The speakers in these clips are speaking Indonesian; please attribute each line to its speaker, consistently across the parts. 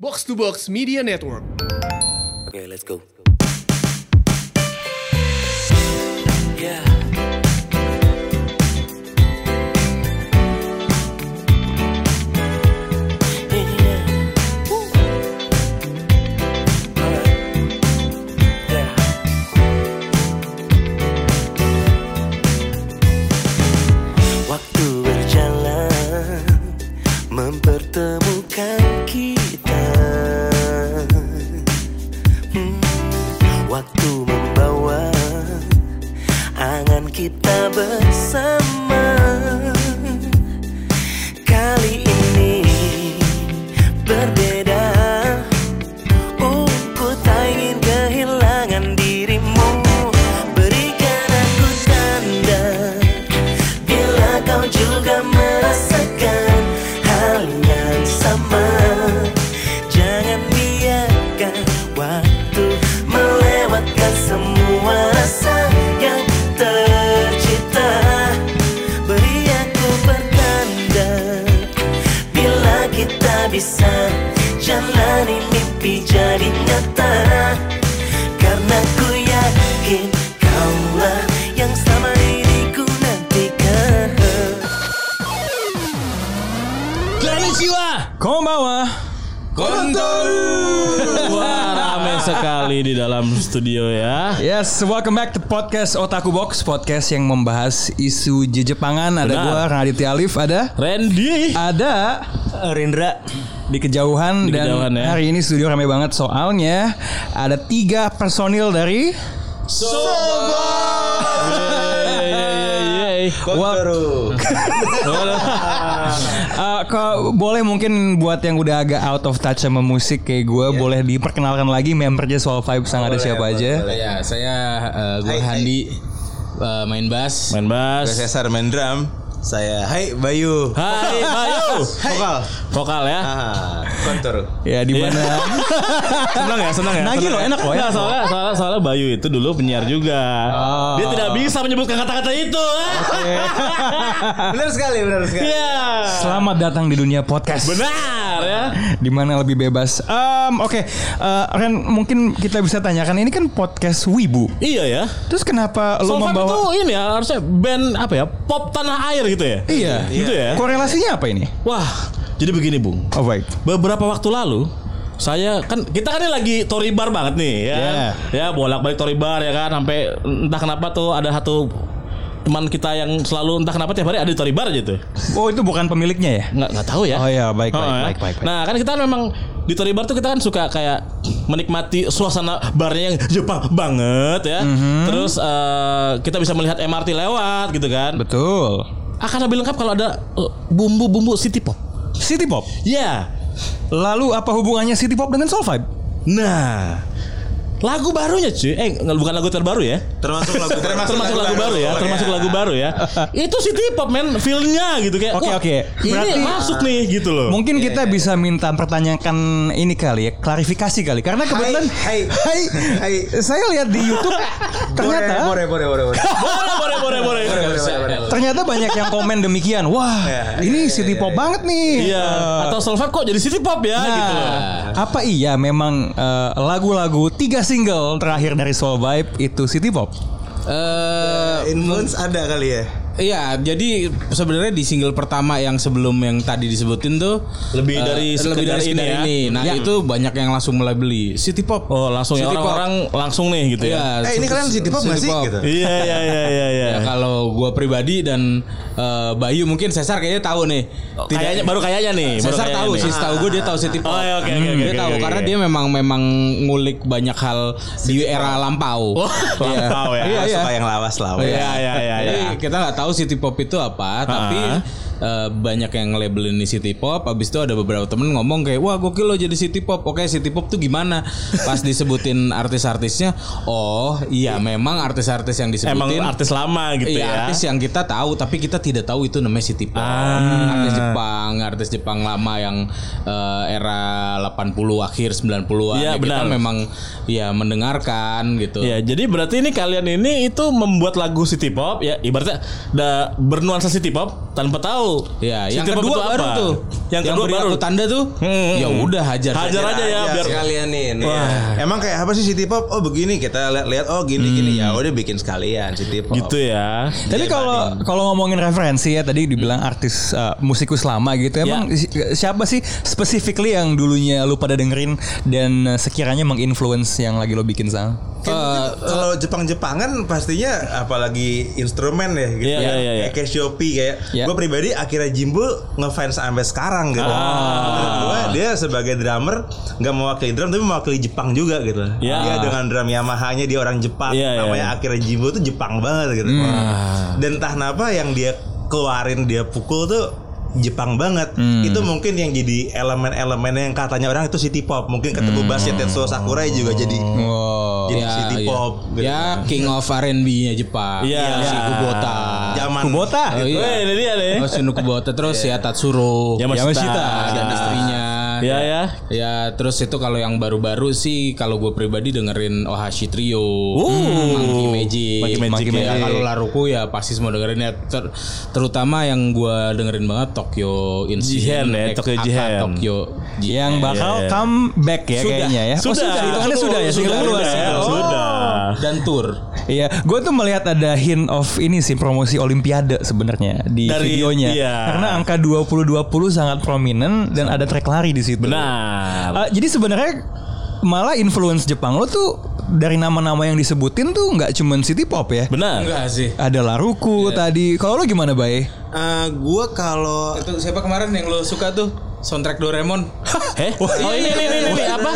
Speaker 1: Box to Box Media Network.
Speaker 2: Okay, let's go. Yeah. Yeah. Woo. Alright. Yeah. Waktu berjalan mempertemukan kita. Hmm, Waktu membawa angan kita bersama. Kali ini berbeda. Oh, ku tak ingin kehilangan dirimu. Berikan aku tanda. Bila kau juga merasakan hal yang sama Jangan biarkan waktu melewatkan semua rasa yang tercipta Beri aku pertanda Bila kita bisa jalani mimpi jadi nyata Karena ku yakin kaulah yang selama ini ku nantikan
Speaker 3: こんばんは。
Speaker 4: Wah, rame sekali di dalam studio ya.
Speaker 3: Yes, welcome back to podcast Otaku Box, podcast yang membahas isu Jejepangan. Ada
Speaker 4: Benar.
Speaker 3: gua Raditya Alif, ada
Speaker 4: Randy.
Speaker 3: ada
Speaker 4: Rindra.
Speaker 3: di kejauhan,
Speaker 4: Di kejauhan,
Speaker 3: dan
Speaker 4: ya.
Speaker 3: hari ini studio rame banget soalnya ada tiga personil dari Kontoru. eh, boleh mungkin buat yang udah agak out of touch sama musik kayak gue,
Speaker 4: Iya.
Speaker 3: boleh diperkenalkan lagi membernya Soul Vibes yang ada siapa aja.
Speaker 5: Ya, saya uh, gue Handi uh, main bass.
Speaker 4: Main
Speaker 6: Gue
Speaker 4: bass.
Speaker 6: Cesar main drum. Saya Hai Bayu.
Speaker 4: Hai, Bayu.
Speaker 6: Vokal.
Speaker 4: Vokal ya.
Speaker 6: Ah, kontor.
Speaker 3: Ya di mana?
Speaker 4: Iya. Senang ya, senang ya.
Speaker 3: Nagih
Speaker 4: Senang
Speaker 3: loh,
Speaker 4: ya?
Speaker 3: enak loh,
Speaker 4: Nah,
Speaker 3: enak
Speaker 4: soalnya, soalnya, soalnya Bayu itu dulu penyiar juga.
Speaker 3: Oh.
Speaker 4: Dia tidak bisa menyebutkan kata-kata itu.
Speaker 6: Benar sekali, benar sekali.
Speaker 4: Iya.
Speaker 3: Selamat datang di dunia podcast.
Speaker 4: Benar ya.
Speaker 3: di mana lebih bebas. Em, Oke, eh, Ren mungkin kita bisa tanyakan ini kan podcast Wibu.
Speaker 4: Iya ya.
Speaker 3: Terus kenapa lo
Speaker 4: Soul Five
Speaker 3: membawa
Speaker 4: itu ini ya harusnya band apa ya? Pop tanah air gitu ya.
Speaker 3: Iya.
Speaker 4: Gitu ya.
Speaker 3: korelasinya apa ini?
Speaker 4: Wah, jadi begini, Bung.
Speaker 3: Oh baik.
Speaker 4: beberapa waktu lalu saya kan kita kan ini lagi toribar banget nih ya kan?
Speaker 3: Iya.
Speaker 4: ya bolak-balik toribar ya kan sampai entah kenapa tuh ada satu teman kita yang selalu entah kenapa tiap hari ada di toribar gitu
Speaker 3: Oh itu bukan pemiliknya ya?
Speaker 4: nggak nggak tahu ya
Speaker 3: Oh ya baik baik,
Speaker 4: Oh, ya.
Speaker 3: baik baik baik.
Speaker 4: Nah kan kita memang di Tori Bar tuh kita kan suka kayak menikmati suasana barnya yang Jepang banget ya.
Speaker 3: Mhm.
Speaker 4: Terus eh, kita bisa melihat MRT lewat gitu kan.
Speaker 3: Betul.
Speaker 4: Akan lebih lengkap kalau ada eh, bumbu-bumbu city pop.
Speaker 3: City Pop.
Speaker 4: Ya.
Speaker 3: Lalu apa hubungannya City Pop dengan Soul Vibe?
Speaker 4: Nah, lagu barunya cuy. Eh, nggak- bukan lagu terbaru ya.
Speaker 6: Termasuk lagu
Speaker 4: Termasuk, lagu, baru ya, termasuk lagu baru ya. Itu city pop men feel-nya gitu kayak.
Speaker 3: Oke,
Speaker 4: wah,
Speaker 3: oke.
Speaker 4: Ini
Speaker 3: Berarti-
Speaker 4: masuk nih gitu loh.
Speaker 3: Mungkin kita bisa minta pertanyakan ini kali ya, klarifikasi kali. Karena kebetulan
Speaker 6: hai.
Speaker 3: Hai,
Speaker 6: Hai.
Speaker 3: saya lihat di YouTube ternyata
Speaker 6: Boleh, boleh, boleh, boleh.
Speaker 4: Boleh, boleh, boleh, boleh.
Speaker 3: ternyata banyak yang komen demikian. Wah, ini City Pop banget nih.
Speaker 4: Iya,
Speaker 3: Eh,
Speaker 4: atau Soul Vibe kok jadi city pop ya
Speaker 3: Nah,
Speaker 4: gitu loh.
Speaker 3: apa iya memang eh, lagu-lagu tiga single terakhir dari Soul Vibe itu City Pop?
Speaker 5: Eh,
Speaker 6: Influence ada kali ya.
Speaker 5: iya, jadi sebenarnya di single pertama yang sebelum yang tadi disebutin tuh
Speaker 4: Lebih
Speaker 5: eh,
Speaker 4: dari
Speaker 5: lebih
Speaker 4: sekedar
Speaker 5: dari
Speaker 4: ini
Speaker 5: sekedar
Speaker 4: ya.
Speaker 5: ini. Nah,
Speaker 3: Ya.
Speaker 5: itu banyak yang langsung mulai beli City Pop.
Speaker 4: Oh, langsung ya
Speaker 5: City Pop.
Speaker 4: orang-orang langsung nih gitu ya.
Speaker 5: Iya,
Speaker 6: Eh, ini kalian City Pop nggak sih? Gitu.
Speaker 4: Iya, iya, iya, iya, iya.
Speaker 3: Eh.
Speaker 5: Ya, kalau gua pribadi dan eh, Bayu mungkin Cesar kayaknya tahu nih.
Speaker 3: Oh,
Speaker 4: Kayaknya baru kayaknya nih, baru
Speaker 5: Cesar
Speaker 4: kayaknya
Speaker 5: tahu
Speaker 4: nih.
Speaker 5: sih, tahu gue dia tahu City Pop.
Speaker 4: Oh,
Speaker 3: iya,
Speaker 4: ya, oke, oke,
Speaker 5: Hmm,
Speaker 4: oke,
Speaker 5: Dia
Speaker 4: oke,
Speaker 5: tahu
Speaker 4: oke,
Speaker 5: karena
Speaker 4: oke.
Speaker 5: dia memang memang ngulik banyak hal di era lampau.
Speaker 3: Oh,
Speaker 5: Iya.
Speaker 4: Lampau ya.
Speaker 5: Iya, iya.
Speaker 6: Nah, Suka yang lawas-lawas.
Speaker 4: Iya, iya, iya,
Speaker 5: Jadi
Speaker 4: iya.
Speaker 5: kita nggak tahu City Pop itu apa, tapi eh, banyak yang labelin ini City Pop. Abis itu ada beberapa temen ngomong kayak, wah gokil lo jadi City Pop. Oke, City Pop tuh gimana? Pas disebutin artis-artisnya, oh iya memang artis-artis yang disebutin.
Speaker 4: Emang artis lama gitu
Speaker 5: Iya,
Speaker 4: ya.
Speaker 5: artis yang kita tahu tapi kita tidak tahu itu namanya City Pop.
Speaker 4: Ah.
Speaker 5: Artis Jepang, artis Jepang lama yang eh, era 80 akhir 90-an.
Speaker 4: Iya,
Speaker 5: Ya,
Speaker 4: benar.
Speaker 5: Kita memang ya mendengarkan gitu.
Speaker 4: Ya, jadi berarti ini kalian ini itu membuat lagu city pop ya ibaratnya da, bernuansa city pop tanpa tahu.
Speaker 5: Ya, yang
Speaker 4: City pop
Speaker 5: kedua
Speaker 4: itu
Speaker 5: baru
Speaker 4: apa.
Speaker 5: tuh.
Speaker 4: Yang kedua
Speaker 5: beri
Speaker 4: baru.
Speaker 5: aku tanda tuh
Speaker 4: Hmm.
Speaker 5: ya udah hajar
Speaker 4: Hajar aja ya biar
Speaker 6: Iya, sekalian nih. ini ya. Emang kayak apa sih City Pop? Oh begini kita lihat-lihat. Oh gini gini ya udah bikin sekalian City Pop.
Speaker 4: gitu ya.
Speaker 3: Tapi kalau kalau ngomongin referensi ya tadi dibilang artis eh, musikus lama gitu emang
Speaker 4: Ya.
Speaker 3: si- siapa sih specifically yang dulunya lu pada dengerin dan eh, sekiranya menginfluence yang lagi lo bikin Sal?
Speaker 6: Eh, kalau Jepang-Jepangan pastinya apalagi instrumen ya gitu
Speaker 4: Iya,
Speaker 6: ya.
Speaker 4: iya, iya.
Speaker 6: Kayak Cassiope kayak
Speaker 3: Iya.
Speaker 6: gue pribadi akhirnya Jimbo ngefans sampai sekarang gitu.
Speaker 4: Ah.
Speaker 6: Menurut Gue dia sebagai drummer nggak mewakili drum tapi mewakili Jepang juga gitu.
Speaker 4: Iya.
Speaker 6: Dia dengan drum Yamaha-nya dia orang Jepang.
Speaker 4: Iya, iya,
Speaker 6: namanya
Speaker 4: iya. Hmm.
Speaker 6: akhirnya Jimbo tuh Jepang banget gitu. Dan entah kenapa yang dia keluarin dia pukul tuh Jepang banget
Speaker 4: Hmm.
Speaker 6: itu mungkin yang jadi elemen-elemen yang katanya orang itu city pop mungkin
Speaker 4: Hmm.
Speaker 6: ketemu bassnya Tetsuo Sakurai juga jadi
Speaker 5: Oh,
Speaker 6: Jadi city pop, gitu.
Speaker 5: Ya King of R&B-nya Jepang.
Speaker 4: kan.
Speaker 5: ya,
Speaker 4: Iya.
Speaker 5: Si Kubota.
Speaker 6: zaman
Speaker 5: Oh, iya.
Speaker 4: Weh, ini dia deh.
Speaker 5: Oh, Shinu Kubota terus ya Tatsuro. Ya,
Speaker 4: Yamashita.
Speaker 5: Dan istrinya.
Speaker 4: Iya ya.
Speaker 5: Ya terus itu kalau yang baru-baru sih kalau gue pribadi dengerin Ohashi Trio, Hmm, Monkey Magic,
Speaker 4: Monkey Magic,
Speaker 5: Monkey
Speaker 4: ya.
Speaker 5: Ya, kalau Laruku ya pasti semua dengerin ya Ter- terutama yang gue dengerin banget Tokyo
Speaker 4: Jihen
Speaker 5: Incident,
Speaker 4: ya,
Speaker 5: eh,
Speaker 4: Tokyo
Speaker 5: Aka
Speaker 4: Jihen.
Speaker 5: Tokyo Jihen.
Speaker 3: Yang
Speaker 4: Iya,
Speaker 3: bakal come back ya kayaknya ya. Oh, sudah, hitungannya sudah ya, Oh.
Speaker 5: sudah,
Speaker 3: single kedua.
Speaker 5: sudah,
Speaker 3: Single kedua.
Speaker 4: Sudah.
Speaker 5: dan tour.
Speaker 3: Iya, gue tuh melihat ada hint of ini sih promosi Olimpiade sebenarnya di
Speaker 4: Dari-
Speaker 3: videonya.
Speaker 4: iya.
Speaker 3: Karena angka 2020 sangat prominent dan ada track lari di situ.
Speaker 4: Benar.
Speaker 3: Eh, jadi sebenarnya malah influence Jepang lo tuh dari nama-nama yang disebutin tuh nggak cuman city pop ya.
Speaker 4: Benar. Iya.
Speaker 5: Enggak sih.
Speaker 3: Ada Laruku tadi. Kalau lo gimana, Bay?
Speaker 6: Eh, gua kalau
Speaker 5: Itu siapa kemarin yang lo suka tuh? Soundtrack Doraemon.
Speaker 4: Eh?
Speaker 6: iya,
Speaker 4: Oh ini ini ini, ini apa?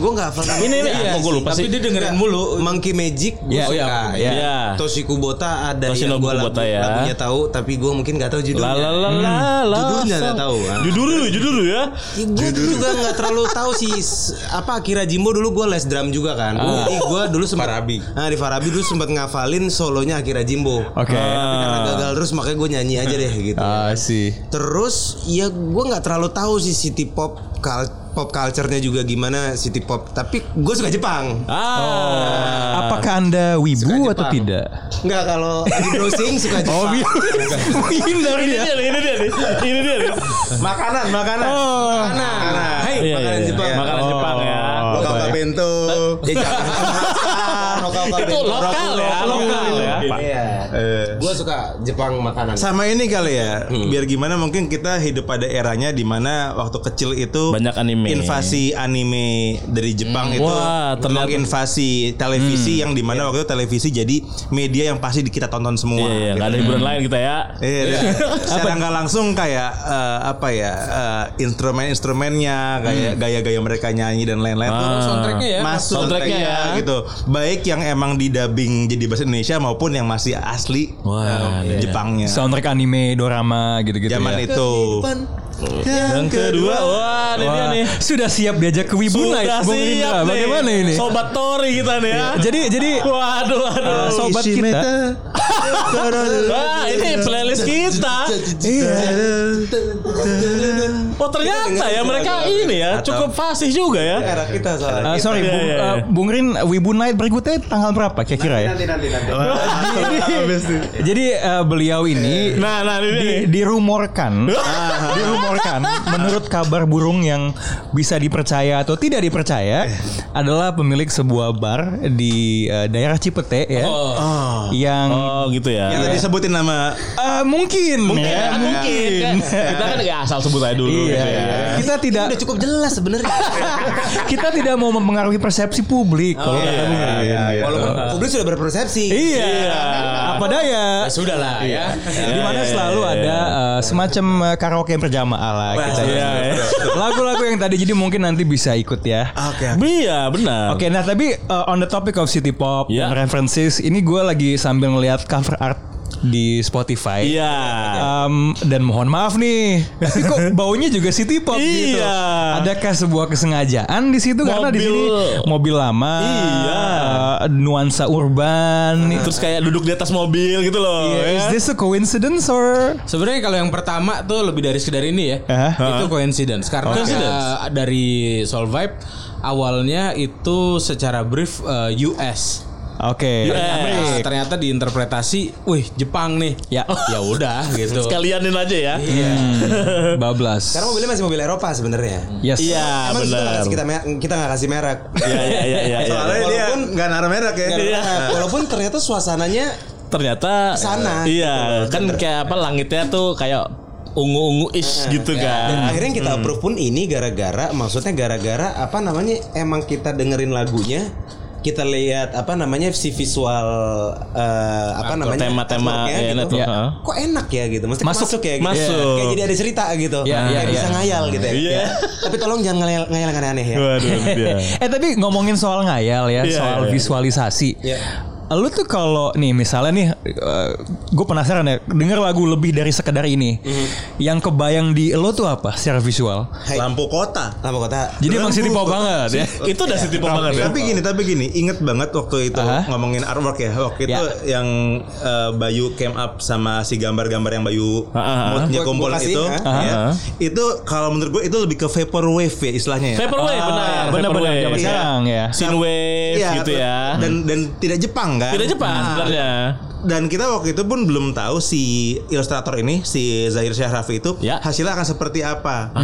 Speaker 6: Gue Eh, nggak hafal Iya, namanya.
Speaker 4: Ini ini apa gue lupa
Speaker 5: Tapi
Speaker 4: sih.
Speaker 5: dia dengerin mulu.
Speaker 6: Monkey Magic gue
Speaker 3: Ya,
Speaker 6: suka
Speaker 5: ya,
Speaker 6: ya.
Speaker 4: Iya.
Speaker 6: Toshiko Bota ada
Speaker 4: Toshino
Speaker 6: yang gue lagu,
Speaker 4: Kubota, ya.
Speaker 6: lagunya tahu tapi gue mungkin nggak tahu
Speaker 4: La
Speaker 6: judulnya. Hmm.
Speaker 4: la la la la.
Speaker 6: Judulnya nggak tahu. ah.
Speaker 4: Judul dulu, judul dulu ya.
Speaker 6: Ya, gue juga nggak terlalu tahu sih s- apa Akira Jimbo dulu gue les drum juga kan.
Speaker 4: Ah.
Speaker 6: Jadi gue dulu sempat Farabi. Nah di Farabi dulu sempat ngafalin solonya Akira
Speaker 4: Oh,
Speaker 6: Jimbo.
Speaker 4: Ah.
Speaker 3: Oke.
Speaker 6: Tapi karena gagal terus makanya gue nyanyi aja deh gitu.
Speaker 3: sih.
Speaker 6: Terus ya gue nggak terlalu tahu sih city pop kal- pop culture-nya juga gimana city pop. Tapi gue suka Jepang.
Speaker 4: Ah.
Speaker 3: Oh, Apakah Anda wibu
Speaker 6: Suka
Speaker 3: atau
Speaker 6: Jepang.
Speaker 3: tidak?
Speaker 6: Nggak kalau di browsing suka
Speaker 4: Oh,
Speaker 6: Jepang.
Speaker 4: iya.
Speaker 3: Menghindar
Speaker 4: Ini dia nih, ini dia nih. Ini dia nih.
Speaker 6: makanan, makanan. Makanan. Hai,
Speaker 4: Oh. Iya,
Speaker 6: makanan
Speaker 4: iya.
Speaker 6: Jepang.
Speaker 4: Makanan Jepang ya.
Speaker 6: Lokal bento. Ya jangan.
Speaker 4: Itu lokal ya, lokal ya.
Speaker 6: Gue suka Jepang makanan. Hmm.
Speaker 7: Sama ini kali ya, biar gimana mungkin kita hidup pada eranya di mana waktu kecil itu
Speaker 4: Banyak anime. Hmm.
Speaker 7: invasi anime dari Jepang itu
Speaker 4: Wah, ternyata- Hmm.
Speaker 7: invasi televisi yang di
Speaker 6: Iya.
Speaker 7: mana waktu itu televisi jadi media yang pasti di- kita tonton semua. gitu.
Speaker 4: Iya, iya, nggak ada hiburan lain kita ya.
Speaker 7: Iya, dan secara nggak langsung kayak eh, apa ya eh, instrumen-instrumennya, kayak gaya-gaya mereka nyanyi dan lain-lain tuh
Speaker 4: Ah.
Speaker 5: Soundtracknya ya.
Speaker 7: masuk
Speaker 4: Soundtracknya ya.
Speaker 7: gitu. Baik yang emang didubbing jadi bahasa Indonesia maupun yang masih asli
Speaker 4: Wah,
Speaker 7: eh,
Speaker 4: Iya.
Speaker 7: Jepangnya.
Speaker 3: Soundtrack anime, dorama gitu-gitu
Speaker 7: Zaman
Speaker 3: ya.
Speaker 7: itu.
Speaker 4: Yang kedua, wah, ini dia
Speaker 3: Wah,
Speaker 4: nih.
Speaker 3: Sudah siap diajak ke Wibu Night,
Speaker 4: Sudah
Speaker 3: Bung
Speaker 4: siap
Speaker 3: Indra.
Speaker 4: nih.
Speaker 3: Bagaimana ini?
Speaker 4: Sobat Tori kita nih ya.
Speaker 3: Iya. Jadi jadi
Speaker 4: Waduh, aduh.
Speaker 3: eh, sobat kita
Speaker 4: Wah, ini playlist kita.
Speaker 3: Iya.
Speaker 4: Oh ternyata ya mereka ini ya cukup fasih juga ya.
Speaker 6: kita soalnya.
Speaker 3: Eh, sorry,
Speaker 4: Iya,
Speaker 3: Bung,
Speaker 4: iya, iya.
Speaker 3: eh, Bung Rin, Wibu Night berikutnya tanggal berapa kira-kira ya?
Speaker 6: nanti nanti.
Speaker 7: iya.
Speaker 3: Jadi eh, beliau ini
Speaker 4: Nah, nah ini
Speaker 3: di-
Speaker 4: nih. Ah.
Speaker 3: dirumorkan, dirumorkan menurut kabar burung yang bisa dipercaya atau tidak dipercaya adalah pemilik sebuah bar di eh, daerah Cipete ya, yang
Speaker 4: Oh gitu ya.
Speaker 3: Iya.
Speaker 7: Yang tadi sebutin nama
Speaker 3: eh, mungkin, mungkin,
Speaker 4: Ya, mungkin. Kita kan nggak asal sebut aja dulu. gitu
Speaker 3: Iya,
Speaker 4: ya.
Speaker 3: kita tidak
Speaker 6: Udah cukup jelas sebenarnya.
Speaker 3: kita tidak mau mempengaruhi persepsi publik kalau kata Bung Rin.
Speaker 7: Iya,
Speaker 6: Walaupun publik sudah berpersepsi.
Speaker 3: Iya. Apa daya?
Speaker 5: Sudah lah
Speaker 7: Iya.
Speaker 5: ya.
Speaker 3: di mana selalu ada eh, semacam eh, karaoke berjamaah lah kita. ya.
Speaker 4: Iya, iya.
Speaker 3: Lagu-lagu yang tadi jadi mungkin nanti bisa ikut ya.
Speaker 6: Oke.
Speaker 4: Iya benar.
Speaker 3: Oke, nah tapi eh, on the topic of city pop
Speaker 4: Ya.
Speaker 3: dan references, ini gue lagi sambil ngelihat cover art di Spotify.
Speaker 4: Iya.
Speaker 3: Um, dan mohon maaf nih, tapi kok baunya juga city pop gitu.
Speaker 4: Iya.
Speaker 3: Adakah sebuah kesengajaan di situ karena di sini
Speaker 4: Mobil.
Speaker 3: mobil lama,
Speaker 4: Iya.
Speaker 3: eh, nuansa urban. itu
Speaker 4: Terus kayak duduk di atas mobil gitu loh.
Speaker 3: Iya, Is
Speaker 4: ya.
Speaker 3: this a coincidence or?
Speaker 5: Sebenarnya kalau yang pertama tuh lebih dari sekedar ini ya.
Speaker 3: Hah?
Speaker 5: Itu coincidence karena
Speaker 4: Coincidence.
Speaker 5: uh, dari Soul Vibe awalnya itu secara brief uh, US.
Speaker 4: Eh, Iya.
Speaker 3: Oke.
Speaker 5: Nah, eh, ternyata diinterpretasi, wih Jepang nih. Ya, ya udah gitu.
Speaker 4: Sekalianin aja ya.
Speaker 3: Iya. Bablas.
Speaker 8: Karena mobilnya masih mobil Eropa sebenarnya.
Speaker 3: Yes.
Speaker 4: Iya,
Speaker 8: Emang kita nggak
Speaker 4: benar.
Speaker 8: kasih kita mer- kita nggak kasih merek.
Speaker 4: Iya, iya, iya, iya, iya.
Speaker 6: Soalnya dia
Speaker 8: Walaupun-
Speaker 6: nggak naruh merek ya.
Speaker 8: Nggak ada
Speaker 4: Iya.
Speaker 8: merek. Walaupun ternyata suasananya
Speaker 4: Ternyata
Speaker 8: Kesana.
Speaker 4: Iya, kan kayak apa langitnya tuh kayak ungu-ungu ish gitu kan.
Speaker 8: akhirnya kita approve pun ini gara-gara maksudnya gara-gara apa namanya emang kita dengerin lagunya kita lihat apa namanya si visual eh, apa namanya
Speaker 4: tema-tema,
Speaker 8: artworknya
Speaker 4: iya,
Speaker 8: gitu.
Speaker 4: network, ha.
Speaker 8: kok enak ya gitu maksudnya
Speaker 3: Masuk,
Speaker 8: masuk, ya gitu.
Speaker 4: masuk.
Speaker 8: kayak jadi ada cerita gitu
Speaker 3: Iya,
Speaker 8: kayak
Speaker 3: iya,
Speaker 8: bisa
Speaker 3: iya.
Speaker 8: ngayal gitu ya
Speaker 4: Iya.
Speaker 8: tapi tolong jangan ngayal ngayal yang aneh-aneh ya
Speaker 4: Waduh, dia.
Speaker 3: eh tapi ngomongin soal ngayal ya,
Speaker 4: Iya,
Speaker 3: soal
Speaker 4: iya, iya.
Speaker 3: visualisasi. Lu tuh kalau nih misalnya nih, gue penasaran ya, denger lagu lebih dari sekedar ini,
Speaker 4: Mhm.
Speaker 3: yang kebayang di lo tuh apa secara visual?
Speaker 8: Hai.
Speaker 6: Lampu kota.
Speaker 8: lama kota
Speaker 3: Jadi emang City Pop banget ya.
Speaker 4: Itu udah city pop banget ya.
Speaker 6: Tapi gini, tapi gini, inget banget waktu itu
Speaker 3: Aha.
Speaker 6: ngomongin artwork ya. Waktu itu yang eh, Bayu came up sama si gambar-gambar yang Bayu
Speaker 4: Ah, ah, ah.
Speaker 6: moodnya
Speaker 8: Gua-
Speaker 6: kumpul
Speaker 8: gua kasih,
Speaker 6: itu,
Speaker 8: ah.
Speaker 6: ya.
Speaker 4: Ah, ah.
Speaker 6: itu kalau menurut gue itu lebih ke vaporwave ya istilahnya. Ya.
Speaker 4: Vaporwave
Speaker 3: Ah,
Speaker 4: benar,
Speaker 3: Bener-bener
Speaker 4: vaporwave.
Speaker 3: zaman
Speaker 4: Iya.
Speaker 3: sekarang ya.
Speaker 4: Synthwave
Speaker 6: Iya,
Speaker 4: gitu ya.
Speaker 6: Dan dan tidak Jepang kan?
Speaker 4: Tidak Jepang
Speaker 6: Nah,
Speaker 4: sebenarnya.
Speaker 6: Dan kita waktu itu pun belum tahu si ilustrator ini si Zahir Syahrafi itu
Speaker 4: Ya. Ah.
Speaker 6: hasilnya akan seperti apa.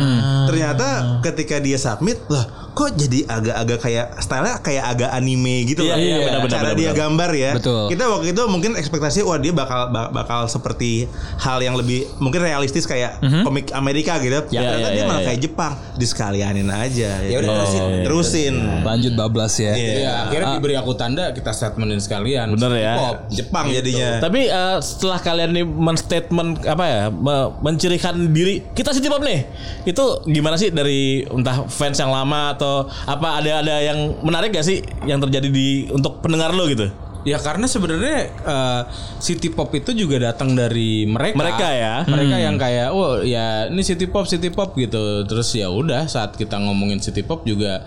Speaker 6: Ternyata ketika dia submit lah kok jadi agak-agak kayak stylenya kayak agak anime gitu
Speaker 4: Iya,
Speaker 6: loh.
Speaker 4: iya, benar-benar,
Speaker 6: Cara
Speaker 4: benar-benar.
Speaker 6: dia gambar ya.
Speaker 3: Betul.
Speaker 6: Kita waktu itu mungkin ekspektasi wah dia bakal ba- bakal seperti hal yang lebih mungkin realistis kayak
Speaker 4: Mhm.
Speaker 6: komik Amerika gitu.
Speaker 4: iya,
Speaker 6: Ternyata
Speaker 4: iya,
Speaker 6: dia malah
Speaker 4: iya.
Speaker 6: kayak Jepang. Disekalianin aja. kan?
Speaker 8: ya udah terusin Iya.
Speaker 6: Terusin.
Speaker 4: Oh,
Speaker 6: Iya.
Speaker 3: Lanjut bablas ya.
Speaker 4: iya.
Speaker 5: Ya, akhirnya
Speaker 4: Ah,
Speaker 5: diberi aku tanda kita statementin sekalian.
Speaker 4: Bener ya.
Speaker 5: Pop.
Speaker 6: Jepang
Speaker 8: Gitu.
Speaker 6: jadinya.
Speaker 4: Tapi eh, setelah kalian nih men-statement apa ya, me- mencirikan diri kita City Pop nih. Itu gimana sih dari entah fans yang lama atau apa ada ada yang menarik gak sih yang terjadi di untuk pendengar lo gitu?
Speaker 5: Ya karena sebenarnya eh, City Pop itu juga datang dari mereka.
Speaker 4: Mereka ya.
Speaker 5: Mereka
Speaker 8: Hmm.
Speaker 5: yang kayak, oh ya ini City Pop, City Pop gitu. Terus ya udah saat kita ngomongin City Pop juga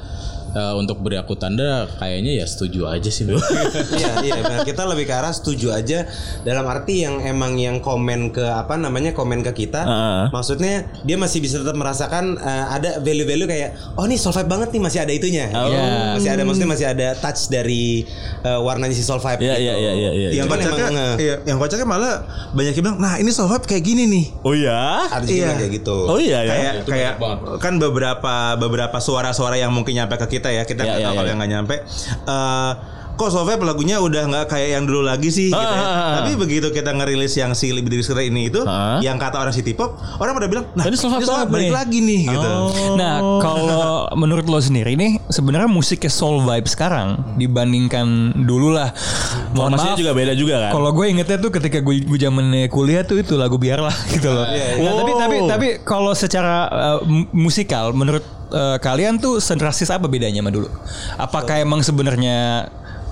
Speaker 5: eh, untuk beri aku tanda kayaknya ya setuju aja sih. Bro.
Speaker 8: Iya, iya. benar. Kita lebih ke arah setuju aja dalam arti yang emang yang komen ke apa namanya komen ke kita.
Speaker 4: Heeh.
Speaker 8: Maksudnya dia masih bisa tetap merasakan eh, ada value-value kayak oh nih Solvive banget nih masih ada itunya.
Speaker 4: Oh.
Speaker 8: Iya. Masih ada maksudnya masih ada touch dari eh, warnanya si Solvive.
Speaker 4: Iya iya iya iya iya.
Speaker 6: yang
Speaker 8: Cuman
Speaker 6: kocaknya,
Speaker 8: emang, eh,
Speaker 6: iya, yang kocaknya malah banyak yang bilang, nah ini soft vibe kayak gini nih.
Speaker 4: Oh ya?
Speaker 8: Ada juga
Speaker 6: Iya.
Speaker 8: kayak gitu.
Speaker 4: Oh iya ya.
Speaker 6: kayak
Speaker 5: itu
Speaker 6: kayak
Speaker 5: banyak banget.
Speaker 6: kan beberapa beberapa suara-suara yang mungkin nyampe ke kita ya kita
Speaker 5: Iya,
Speaker 4: Ya, ya,
Speaker 6: nggak tahu
Speaker 4: ya.
Speaker 6: kalau yang nggak nyampe Eh, kok Sofian lagunya udah nggak kayak yang dulu lagi sih gitu
Speaker 4: Ah,
Speaker 6: ya.
Speaker 4: ah, ah.
Speaker 6: tapi begitu kita ngerilis yang si lebih dari sekedar ini itu
Speaker 4: Ah.
Speaker 6: yang kata orang City Pop orang pada bilang nah
Speaker 4: Ini
Speaker 6: ini
Speaker 4: Soulvibe
Speaker 6: Soulvibe
Speaker 4: banget
Speaker 6: balik
Speaker 4: nih.
Speaker 6: lagi nih gitu
Speaker 5: Oh.
Speaker 3: Nah, kalau menurut lo sendiri nih, sebenarnya musiknya soul vibe sekarang dibandingkan dulu lah. Mohon
Speaker 4: Formasinya
Speaker 3: maaf,
Speaker 4: juga beda juga kan.
Speaker 3: Kalau gue ingetnya tuh ketika gue gue zamannya kuliah tuh itu lagu biarlah gitu loh.
Speaker 4: Iya,
Speaker 3: Nah, tapi
Speaker 4: Wow.
Speaker 3: tapi tapi kalau secara uh, mu- musikal menurut uh, kalian tuh senrasis apa bedanya sama dulu? Apakah emang sebenarnya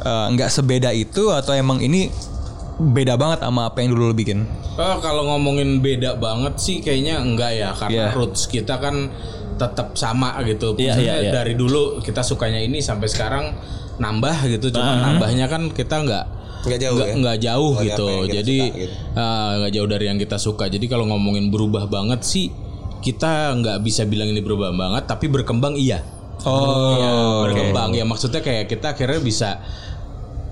Speaker 3: uh, nggak sebeda itu atau emang ini beda banget sama apa yang dulu lo bikin?
Speaker 5: Eh, kalau ngomongin beda banget sih kayaknya enggak ya karena
Speaker 3: Iya.
Speaker 5: roots kita kan tetap sama gitu.
Speaker 4: Iya,
Speaker 5: Maksudnya
Speaker 4: iya, iya.
Speaker 5: dari dulu kita sukanya ini sampai sekarang nambah gitu. Cuma nambahnya kan kita enggak
Speaker 8: Nggak jauh
Speaker 5: nggak
Speaker 8: ya?
Speaker 5: nggak jauh
Speaker 8: Nggak
Speaker 5: gitu.
Speaker 8: apa yang kita
Speaker 5: Jadi
Speaker 8: suka gitu.
Speaker 5: eh, nggak jauh dari yang kita suka. Jadi kalau ngomongin berubah banget sih kita nggak bisa bilang ini berubah banget tapi berkembang iya
Speaker 3: Oh,
Speaker 5: ya, berkembang ya maksudnya kayak kita akhirnya bisa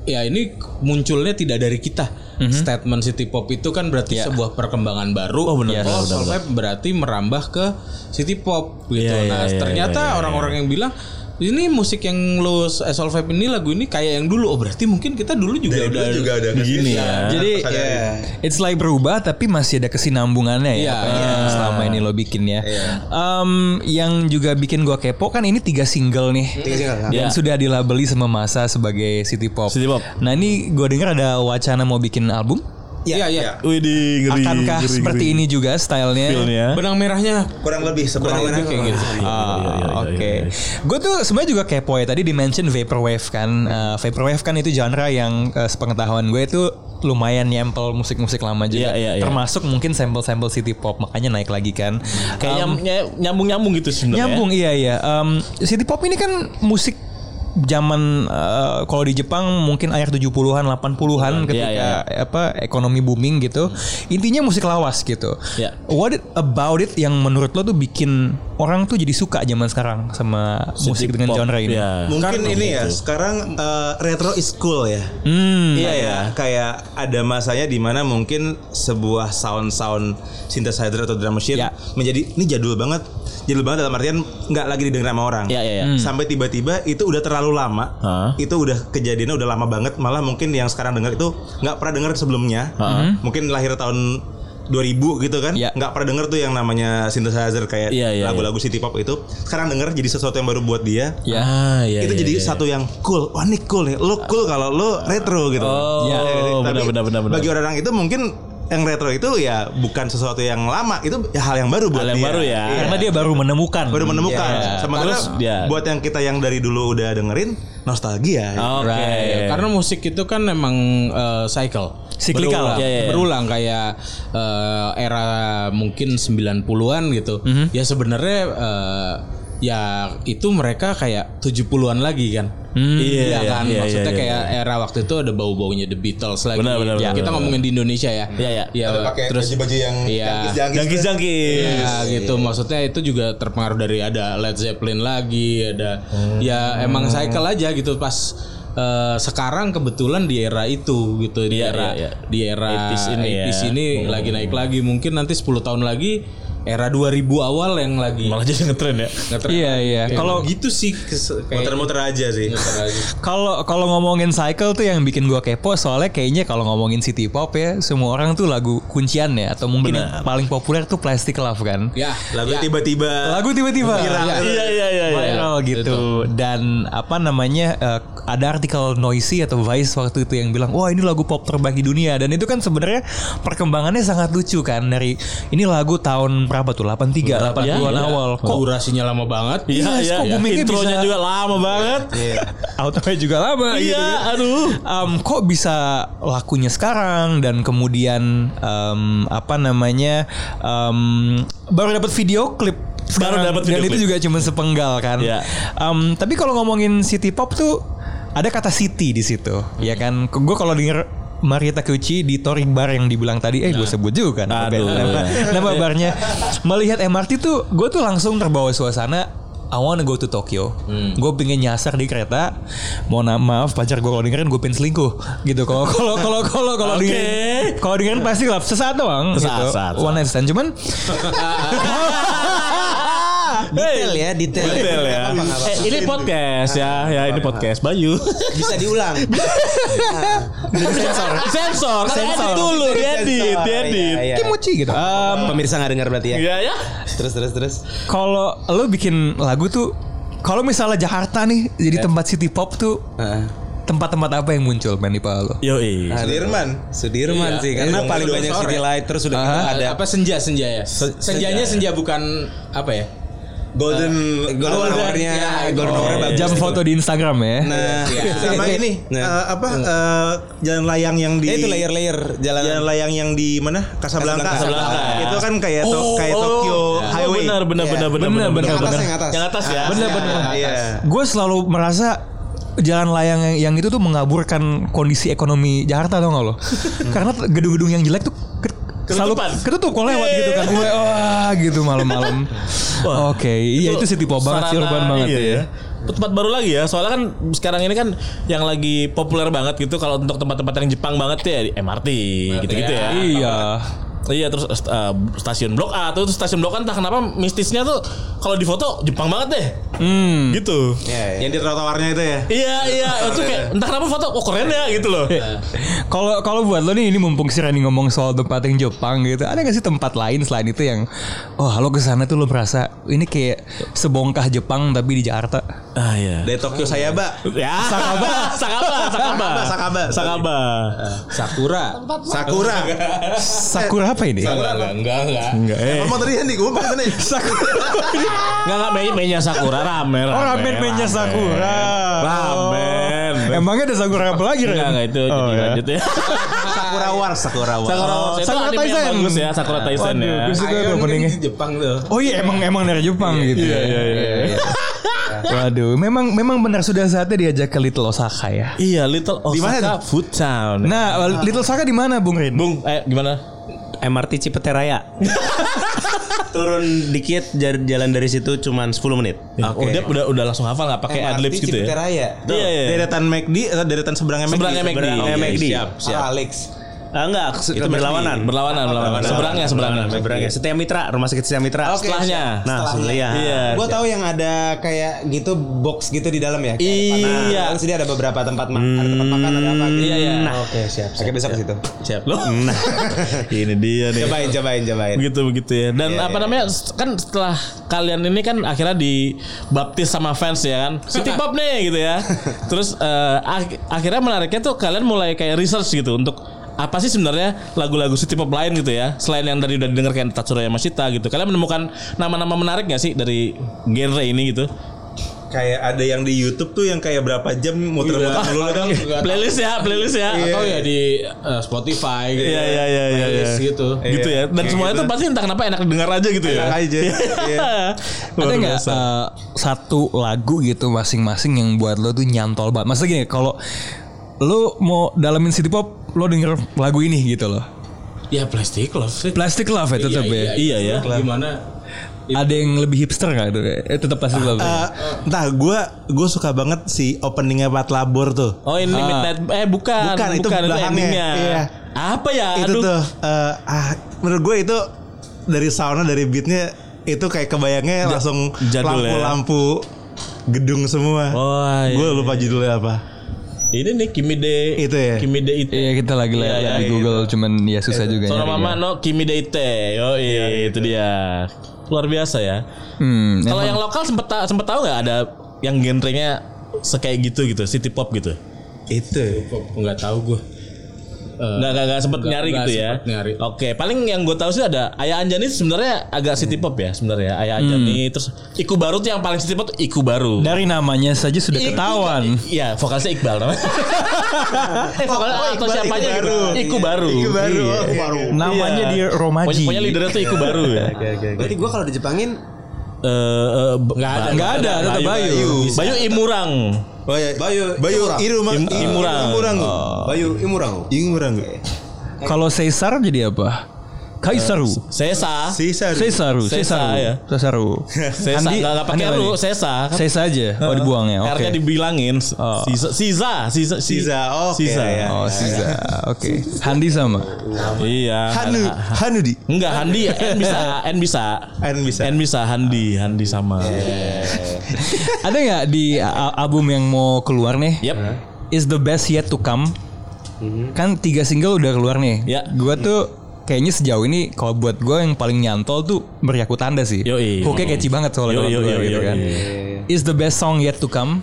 Speaker 5: ya ini munculnya tidak dari kita statement city pop itu kan berarti sebuah perkembangan baru oh benar berarti merambah ke city pop gitu nah ternyata orang-orang yang bilang ini musik yang lo eh, soul vibe ini lagu ini kayak yang dulu oh berarti mungkin kita dulu juga Ya udah
Speaker 6: begini ya
Speaker 3: Jadi it's like berubah tapi masih ada kesinambungannya ya
Speaker 5: Iya,
Speaker 3: apa yang selama ini lo bikin ya. Em, yang juga bikin gua kepo kan ini tiga single nih.
Speaker 8: Tiga
Speaker 5: iya.
Speaker 8: single, ya.
Speaker 3: Yang sudah dilabeli sama masa sebagai City Pop.
Speaker 4: City Pop.
Speaker 3: Nah ini gue dengar ada wacana mau bikin album.
Speaker 5: iya iya
Speaker 4: Widih, ngeri.
Speaker 3: Akankah
Speaker 4: ngeri,
Speaker 3: seperti
Speaker 4: ngeri.
Speaker 3: ini juga stylenya?
Speaker 4: Feel-nya.
Speaker 5: benang merahnya
Speaker 6: kurang lebih
Speaker 4: Iya,
Speaker 6: sebenarnya
Speaker 5: lebih kayak gitu.
Speaker 3: Ah, Iya, Oke, gue tuh sebenarnya juga kepo ya tadi di mention vaporwave kan, Eh, vaporwave kan itu genre yang eh, sepengetahuan gue itu lumayan nyempel musik-musik lama juga,
Speaker 4: Iya, iya, iya.
Speaker 3: termasuk mungkin sampel-sampel city pop makanya naik lagi kan.
Speaker 4: Kayak nyam- nyambung-nyambung gitu sebenarnya.
Speaker 3: Nyambung iya iya. Em, city pop ini kan musik zaman eh, kalau di Jepang mungkin akhir 70-an 80-an ketika apa ekonomi booming gitu. Intinya musik lawas gitu.
Speaker 4: Iya.
Speaker 3: What it- about it yang menurut lo tuh bikin orang tuh jadi suka zaman sekarang sama musik dengan
Speaker 4: Pop.
Speaker 3: genre ini?
Speaker 4: Iya.
Speaker 6: Mungkin ini ya sekarang eh, retro is cool ya.
Speaker 3: Hmm.
Speaker 6: Iya ya, kayak ada masanya di mana mungkin sebuah sound-sound synthesizer atau drum machine
Speaker 3: Ya.
Speaker 6: menjadi ini jadul banget. Jadul banget dalam artian nggak lagi didengar sama orang. Hmm.
Speaker 4: Ya, ya, ya.
Speaker 6: Sampai tiba-tiba itu udah terlalu lama.
Speaker 4: Hah?
Speaker 6: Itu udah kejadiannya udah lama banget. Malah mungkin yang sekarang dengar itu nggak pernah dengar sebelumnya. Hmm. Mungkin lahir tahun 2000 gitu kan.
Speaker 3: Ya.
Speaker 6: nggak pernah denger tuh yang namanya synthesizer kayak
Speaker 4: Iya, iya,
Speaker 6: lagu-lagu city pop itu. Sekarang denger jadi sesuatu yang baru buat dia
Speaker 3: Ya.
Speaker 4: Ah, iya,
Speaker 6: itu
Speaker 4: iya,
Speaker 6: jadi
Speaker 4: iya. Ah.
Speaker 6: satu yang cool. Wah ini cool nih. Lo cool kalau lo retro gitu.
Speaker 4: Oh,
Speaker 6: Iya, iya, iya.
Speaker 4: benar,
Speaker 6: Tapi
Speaker 4: benar, benar, benar.
Speaker 6: Bagi orang itu mungkin yang retro itu ya bukan sesuatu yang lama. Itu ya hal yang baru buat
Speaker 4: Hal yang
Speaker 6: dia.
Speaker 4: baru ya.
Speaker 6: Iya.
Speaker 3: Karena dia baru menemukan.
Speaker 6: baru menemukan.
Speaker 4: Iya.
Speaker 6: Sementara
Speaker 4: Terus, iya.
Speaker 6: buat yang kita yang dari dulu udah dengerin nostalgia.
Speaker 4: Oke.
Speaker 5: Right. Karena musik itu kan memang eh, cycle.
Speaker 3: Cyclical.
Speaker 5: Berulang,
Speaker 4: Ya, ya, ya.
Speaker 5: berulang kayak eh, era mungkin 90-an gitu.
Speaker 4: Mhm.
Speaker 5: Ya sebenarnya eh, ya itu mereka kayak 70-an lagi kan.
Speaker 4: Iya,
Speaker 5: Iya
Speaker 4: iya,
Speaker 5: kan.
Speaker 4: iya,
Speaker 5: Maksudnya
Speaker 4: iya,
Speaker 5: kayak era waktu itu ada bau-baunya The Beatles lagi.
Speaker 4: Benar, benar,
Speaker 5: Ya,
Speaker 4: benar,
Speaker 5: kita
Speaker 4: benar.
Speaker 5: ngomongin di Indonesia ya.
Speaker 4: Iya, iya.
Speaker 5: terus
Speaker 6: yang
Speaker 5: Iya.
Speaker 4: Jangkis-jangkis. Iya.
Speaker 5: Ya gitu maksudnya itu juga terpengaruh dari ada Led Zeppelin lagi ada
Speaker 4: Hmm.
Speaker 5: ya emang cycle aja gitu pas eh, sekarang kebetulan di era itu gitu di
Speaker 4: Iya,
Speaker 5: era
Speaker 4: iya, iya.
Speaker 5: di era
Speaker 4: 80s
Speaker 5: 80s
Speaker 4: ini
Speaker 5: ini,
Speaker 4: ya. Hmm.
Speaker 5: lagi naik lagi mungkin nanti 10 tahun lagi era 2000 awal yang lagi
Speaker 4: Malah jadi ngetren ya.
Speaker 5: ngetren.
Speaker 3: Iya iya. Kalau
Speaker 5: gitu sih kes- kayak
Speaker 6: Muter-muter aja sih.
Speaker 5: muter lagi.
Speaker 3: Kalau kalau ngomongin cycle tuh yang bikin gua kepo soalnya kayaknya kalau ngomongin city pop ya semua orang tuh lagu kuncian ya atau mungkin yang paling populer tuh Plastic Love kan.
Speaker 5: ya
Speaker 6: Lagu
Speaker 5: ya.
Speaker 6: tiba-tiba.
Speaker 3: Lagu tiba-tiba
Speaker 4: Iya, iya, iya. iya.
Speaker 3: viral gitu dan apa namanya eh, ada artikel noisy atau vice waktu itu yang bilang wah ini lagu pop terbaik di dunia dan itu kan sebenarnya perkembangannya sangat lucu kan dari ini lagu tahun berapa tuh 83 80-an
Speaker 4: Iya, iya.
Speaker 3: awal
Speaker 5: kok
Speaker 3: kok
Speaker 5: durasinya lama banget
Speaker 4: Iya,
Speaker 3: Yes,
Speaker 4: iya,
Speaker 3: kok
Speaker 4: iya.
Speaker 3: boomingnya
Speaker 4: Intronya
Speaker 3: bisa-
Speaker 4: juga lama banget.
Speaker 3: outro juga lama gitu
Speaker 4: Iya,
Speaker 3: kan.
Speaker 4: aduh.
Speaker 3: Em, kok bisa lakunya sekarang dan kemudian em, apa namanya em, baru dapat video klip sekarang.
Speaker 4: dapat
Speaker 3: dan
Speaker 4: video
Speaker 3: itu
Speaker 4: klip.
Speaker 3: juga cuma sepenggal kan.
Speaker 4: Iya.
Speaker 3: Em, tapi kalau ngomongin city pop tuh ada kata city di situ, ya kan? Gue kalau denger Marieta Kuci di Tori Bar yang dibilang tadi, eh gue
Speaker 4: Nah.
Speaker 3: sebut juga nama,
Speaker 4: Aduh.
Speaker 3: band- nama, nama barnya. Melihat MRT tuh, gue tuh langsung terbawa suasana I wanna go to Tokyo.
Speaker 4: Hmm.
Speaker 3: Gue pengen nyasar di kereta. Mau na- maaf pacar gue kalau dengerin gue pengen selingkuh gitu. Kalau kalau kalau kalau kalau
Speaker 4: Oke.
Speaker 3: dengerin kalau dengerin pasti gelap sesaat doang gitu.
Speaker 4: Sesaat,
Speaker 3: One night stand cuman
Speaker 8: Detail ya, detail.
Speaker 4: Detail ya. Eh, ini podcast ya. Ya, ini podcast Bayu.
Speaker 8: Bisa diulang.
Speaker 4: sensor.
Speaker 3: Oh,
Speaker 4: sensor, sensor. dulu,
Speaker 3: Iya,
Speaker 4: diedit, diedit.
Speaker 8: Iya, iya.
Speaker 3: kimuchi gitu.
Speaker 8: Em, pemirsa nggak dengar berarti ya.
Speaker 4: Iya, ya.
Speaker 8: Terus terus terus.
Speaker 3: Kalau lo bikin lagu tuh kalau misalnya Jakarta nih jadi tempat city pop tuh
Speaker 8: Iya. Heeh.
Speaker 3: tempat-tempat apa yang muncul men di kepala lo?
Speaker 4: Yoi.
Speaker 6: Nah, Sudirman.
Speaker 8: Sudirman sih karena
Speaker 6: Iya,
Speaker 8: paling
Speaker 6: dua
Speaker 8: banyak
Speaker 6: sore.
Speaker 8: city light terus udah gitu
Speaker 6: kan.
Speaker 8: ada
Speaker 5: apa senja senja ya senjanya senja bukan apa ya
Speaker 6: Golden
Speaker 8: golden
Speaker 6: Golden
Speaker 8: hour-nya,
Speaker 5: ya,
Speaker 8: golden hour-nya bagus.
Speaker 3: Jam foto di Instagram ya.
Speaker 6: Nah,
Speaker 8: Iya.
Speaker 6: sama ini
Speaker 8: Nah.
Speaker 6: eh, apa eh, jalan layang yang di
Speaker 8: Ya, itu layer-layer jalan.
Speaker 6: Jalan layang yang di mana? Casablanca.
Speaker 8: Casablanca.
Speaker 4: Casablanca.
Speaker 6: Itu kan kayak to- kayak Tokyo Highway.
Speaker 4: Oh, Benar, benar, benar, benar, benar,
Speaker 3: benar,
Speaker 8: atas
Speaker 3: benar.
Speaker 8: yang atas.
Speaker 4: Yang atas ya.
Speaker 3: Bener bener.
Speaker 6: Iya.
Speaker 3: Gue selalu merasa jalan layang yang, yang itu tuh mengaburkan kondisi ekonomi Jakarta tau gak lo? Karena t- gedung-gedung yang jelek tuh ke- selalu
Speaker 4: Ketutupan.
Speaker 3: ketutup kalau lewat gitu kan gue wah gitu malam-malam. Oke, iya itu city pop banget sih
Speaker 4: Sarana,
Speaker 3: urban banget
Speaker 4: iya,
Speaker 3: ya.
Speaker 4: ya. Tempat baru lagi ya, soalnya kan sekarang ini kan yang lagi populer banget gitu kalau untuk tempat-tempat yang Jepang banget ya di MRT gitu-gitu ya.
Speaker 3: Iya.
Speaker 4: Iya terus eh, stasiun Blok A tuh terus stasiun Blok A entah kenapa mistisnya tuh kalau di foto Jepang banget deh.
Speaker 3: Hmm.
Speaker 4: Gitu.
Speaker 6: Yang di trotoarnya itu ya.
Speaker 4: Iya iya itu kayak entah kenapa foto kok keren ya gitu loh.
Speaker 5: Iya.
Speaker 3: Kalau kalau buat lo nih ini mumpung si Rani ngomong soal tempat yang Jepang gitu, ada gak sih tempat lain selain itu yang oh lo kesana tuh lo merasa ini kayak sebongkah Jepang tapi di Jakarta?
Speaker 4: Ah iya.
Speaker 6: Dari Tokyo saya, Mbak.
Speaker 4: Ya. Sakaba, Sakaba, Sakaba.
Speaker 6: Sakaba.
Speaker 4: Sakaba.
Speaker 5: sakura
Speaker 6: Sakura.
Speaker 3: Sakura apa ini?
Speaker 5: enggak enggak enggak, enggak.
Speaker 4: Enggak. Eh.
Speaker 6: Ngomong tadi Hendy, gue mau tadi.
Speaker 4: Enggak enggak main mainnya Sakura ramen.
Speaker 3: Oh ramen mainnya Sakura.
Speaker 4: Ramen.
Speaker 3: Oh. Emangnya ada Sakura apa lagi? Ren?
Speaker 4: Enggak enggak Nah, itu
Speaker 3: Oh,
Speaker 4: jadi
Speaker 3: ya.
Speaker 4: lanjut ya.
Speaker 6: Sakura Wars, Sakura Wars.
Speaker 4: Sakura Wars itu
Speaker 3: Oh, Sakura
Speaker 4: anime yang
Speaker 3: Taisen.
Speaker 4: bagus ya, Sakura Taisen
Speaker 3: Waduh,
Speaker 4: ya.
Speaker 3: gue suka tuh openingnya.
Speaker 5: Jepang tuh
Speaker 3: Oh iya emang emang dari Jepang gitu. ya.
Speaker 4: Iya iya iya.
Speaker 3: Waduh, memang memang benar sudah saatnya diajak ke Little Osaka ya.
Speaker 4: Iya, Little Osaka
Speaker 6: Di mana
Speaker 4: Food Town.
Speaker 3: Nah, Little Osaka di mana, Bung Rin?
Speaker 4: Bung, eh gimana?
Speaker 9: MRT Cipete Raya. Turun dikit jar- jalan dari situ cuman 10 menit.
Speaker 4: Oh, dia udah udah langsung hafal nggak pakai adlibs gitu ya? Iya, iya.
Speaker 6: Deretan McD
Speaker 8: eh,
Speaker 6: atau deretan seberangnya McD?
Speaker 4: Seberangnya McD.
Speaker 9: Seberangnya
Speaker 4: Oke,
Speaker 9: McD.
Speaker 4: Siap, siap.
Speaker 8: Alex. Ah,
Speaker 9: Ah, enggak, itu berlawanan.
Speaker 4: Berlawanan, berlawanan. Seberangnya, seberangnya.
Speaker 9: Seberangnya. Setia Mitra, Rumah Sakit Setia Mitra.
Speaker 8: Oke,
Speaker 4: Setelahnya.
Speaker 9: Nah,
Speaker 8: Setelahnya.
Speaker 9: lihat.
Speaker 4: Iya.
Speaker 8: Gue tahu yang ada kayak gitu box gitu di dalam ya.
Speaker 4: Iya.
Speaker 8: Kan sini ada beberapa tempat makan, ada tempat makan, ada apa gitu.
Speaker 4: Iya, iya.
Speaker 8: Nah, Oke, siap. Oke, besok ke situ.
Speaker 4: Siap. Loh. ini dia nih.
Speaker 8: Cobain, cobain, cobain.
Speaker 4: begitu begitu ya dan apa namanya st- kan setelah kalian ini kan akhirnya dibaptis sama fans ya kan City Pop nih gitu ya terus eh, ak- akhirnya menariknya tuh kalian mulai kayak research gitu untuk apa sih sebenarnya lagu-lagu City Pop lain gitu ya selain yang tadi udah didengar kayak Tatsuraya Yamashita gitu kalian menemukan nama-nama menarik gak sih dari genre ini gitu
Speaker 6: Kayak ada yang di YouTube tuh yang kayak berapa jam muter-muter dulu kan.
Speaker 4: playlist ya playlist ya
Speaker 5: Atau ya di eh, Spotify gitu.
Speaker 4: Iya, iya, iya, iya,
Speaker 5: Playlist
Speaker 4: iya.
Speaker 5: gitu.
Speaker 4: gitu ya dan semuanya tuh pasti entah kenapa enak didengar aja gitu ya
Speaker 6: Enak aja. Iya.
Speaker 4: Luar
Speaker 3: Ada nggak
Speaker 4: biasa.
Speaker 3: eh, satu lagu gitu masing-masing yang buat lo tuh nyantol banget? Maksudnya gini, kalau lo mau dalamin city pop, lo denger lagu ini gitu loh.
Speaker 5: Ya plastik love sih.
Speaker 3: Plastic Love ya tetap ya. Iya.
Speaker 4: iya, ya.
Speaker 5: Gimana?
Speaker 3: Ada yang lebih hipster nggak itu? Eh, tetap Plastic Love. ya?
Speaker 4: Ah.
Speaker 6: Eh, entah gue gue suka banget si openingnya Pat Labor tuh.
Speaker 4: Oh ini midnight eh bukan
Speaker 6: Bukan, itu belakangnya.
Speaker 4: endingnya.
Speaker 6: Iya.
Speaker 4: Apa ya?
Speaker 6: itu tuh eh, ah, menurut gue itu dari soundnya dari beatnya itu kayak kebayangnya langsung
Speaker 4: jadul ya.
Speaker 6: lampu-lampu gedung semua.
Speaker 4: Wah, iya.
Speaker 6: gue lupa judulnya apa.
Speaker 4: Ini nih Kimi de
Speaker 6: Itu ya?
Speaker 4: Kimi de Ite.
Speaker 3: Iya kita lagi lihat
Speaker 4: Iya, iya,
Speaker 3: di Google cuman ya susah juga.
Speaker 4: Sono
Speaker 3: nyari
Speaker 4: Mama
Speaker 3: ya.
Speaker 4: no Kimi de Ite. Oh iya, itu dia. Luar biasa ya.
Speaker 3: Hmm,
Speaker 4: Kalau
Speaker 3: emang-
Speaker 4: yang lokal sempet ta sempet tahu nggak ada yang genrenya sekayak gitu gitu, city pop gitu.
Speaker 6: Itu.
Speaker 5: Enggak tahu gue.
Speaker 4: Nggak nggak nggak sempet
Speaker 5: nggak-
Speaker 4: nyari
Speaker 5: nggak
Speaker 4: gitu ya.
Speaker 5: sempet nyari.
Speaker 4: Oke, paling yang gue tahu sih ada Ayah Anjani sebenarnya agak city
Speaker 6: Hmm.
Speaker 4: pop ya sebenarnya. Ayah Anjani terus Iku Baru tuh yang paling city pop tuh Iku Baru.
Speaker 6: Nah.
Speaker 3: dari namanya saja sudah ketahuan.
Speaker 4: Iya, vokalisnya Iqbal namanya. eh, vokalnya atau siapanya
Speaker 6: Iqbal
Speaker 4: gitu.
Speaker 6: baru.
Speaker 4: Iku baru. Iya.
Speaker 6: Itu baru. oke, oke.
Speaker 3: Namanya dia Romaji.
Speaker 4: Pokoknya, pokoknya leadernya tuh Iku baru ya.
Speaker 8: Berarti gue kalau di Jepangin
Speaker 4: Eh, enggak ada,
Speaker 3: Nggak ada, tetap Bayu.
Speaker 4: Bayu Imurang.
Speaker 6: Oh, iya. Bayu Bayu Iruma
Speaker 4: Im- Imurang. Oh.
Speaker 6: Imurang.
Speaker 8: Bayu Imurang.
Speaker 6: Imurang.
Speaker 3: Kalau Caesar jadi apa? Kaisaru.
Speaker 4: Sesa.
Speaker 6: Sisa
Speaker 3: Cesaru,
Speaker 4: Sesa,
Speaker 3: Cesaru,
Speaker 4: ya.
Speaker 3: Cesaru.
Speaker 4: Sesa
Speaker 3: Andi-
Speaker 4: enggak pakai
Speaker 3: Andi
Speaker 4: ru,
Speaker 3: lagi.
Speaker 4: Sesa.
Speaker 3: Sesa aja. Oh dibuang ya. Oke.
Speaker 4: R-nya dibilangin.
Speaker 3: Oh.
Speaker 4: Sisa, Siza, Siza,
Speaker 6: Sisa. Oke.
Speaker 4: Sisa.
Speaker 6: ya.
Speaker 3: Oh Sesa. Oke. Handi sama.
Speaker 4: Iya.
Speaker 6: Hanu Hanudi.
Speaker 4: Enggak, Handi N bisa, N bisa.
Speaker 6: N bisa. Iya,
Speaker 4: N bisa Handi, Handi sama.
Speaker 3: Ada nggak di a- album yang mau keluar nih?
Speaker 4: Yep.
Speaker 3: Is the best yet to come. Kan tiga single udah keluar nih.
Speaker 4: Mhm. Ya.
Speaker 3: Gua tuh kayaknya sejauh ini kalau buat gua yang paling nyantol tuh Beriaku Tanda sih.
Speaker 4: Yoi.
Speaker 3: Hooknya catchy banget
Speaker 4: Yoi,
Speaker 3: soalnya kalau
Speaker 4: yoi,
Speaker 3: gua
Speaker 4: yoi,
Speaker 3: gitu
Speaker 4: yoi.
Speaker 3: kan. Is the best song yet to come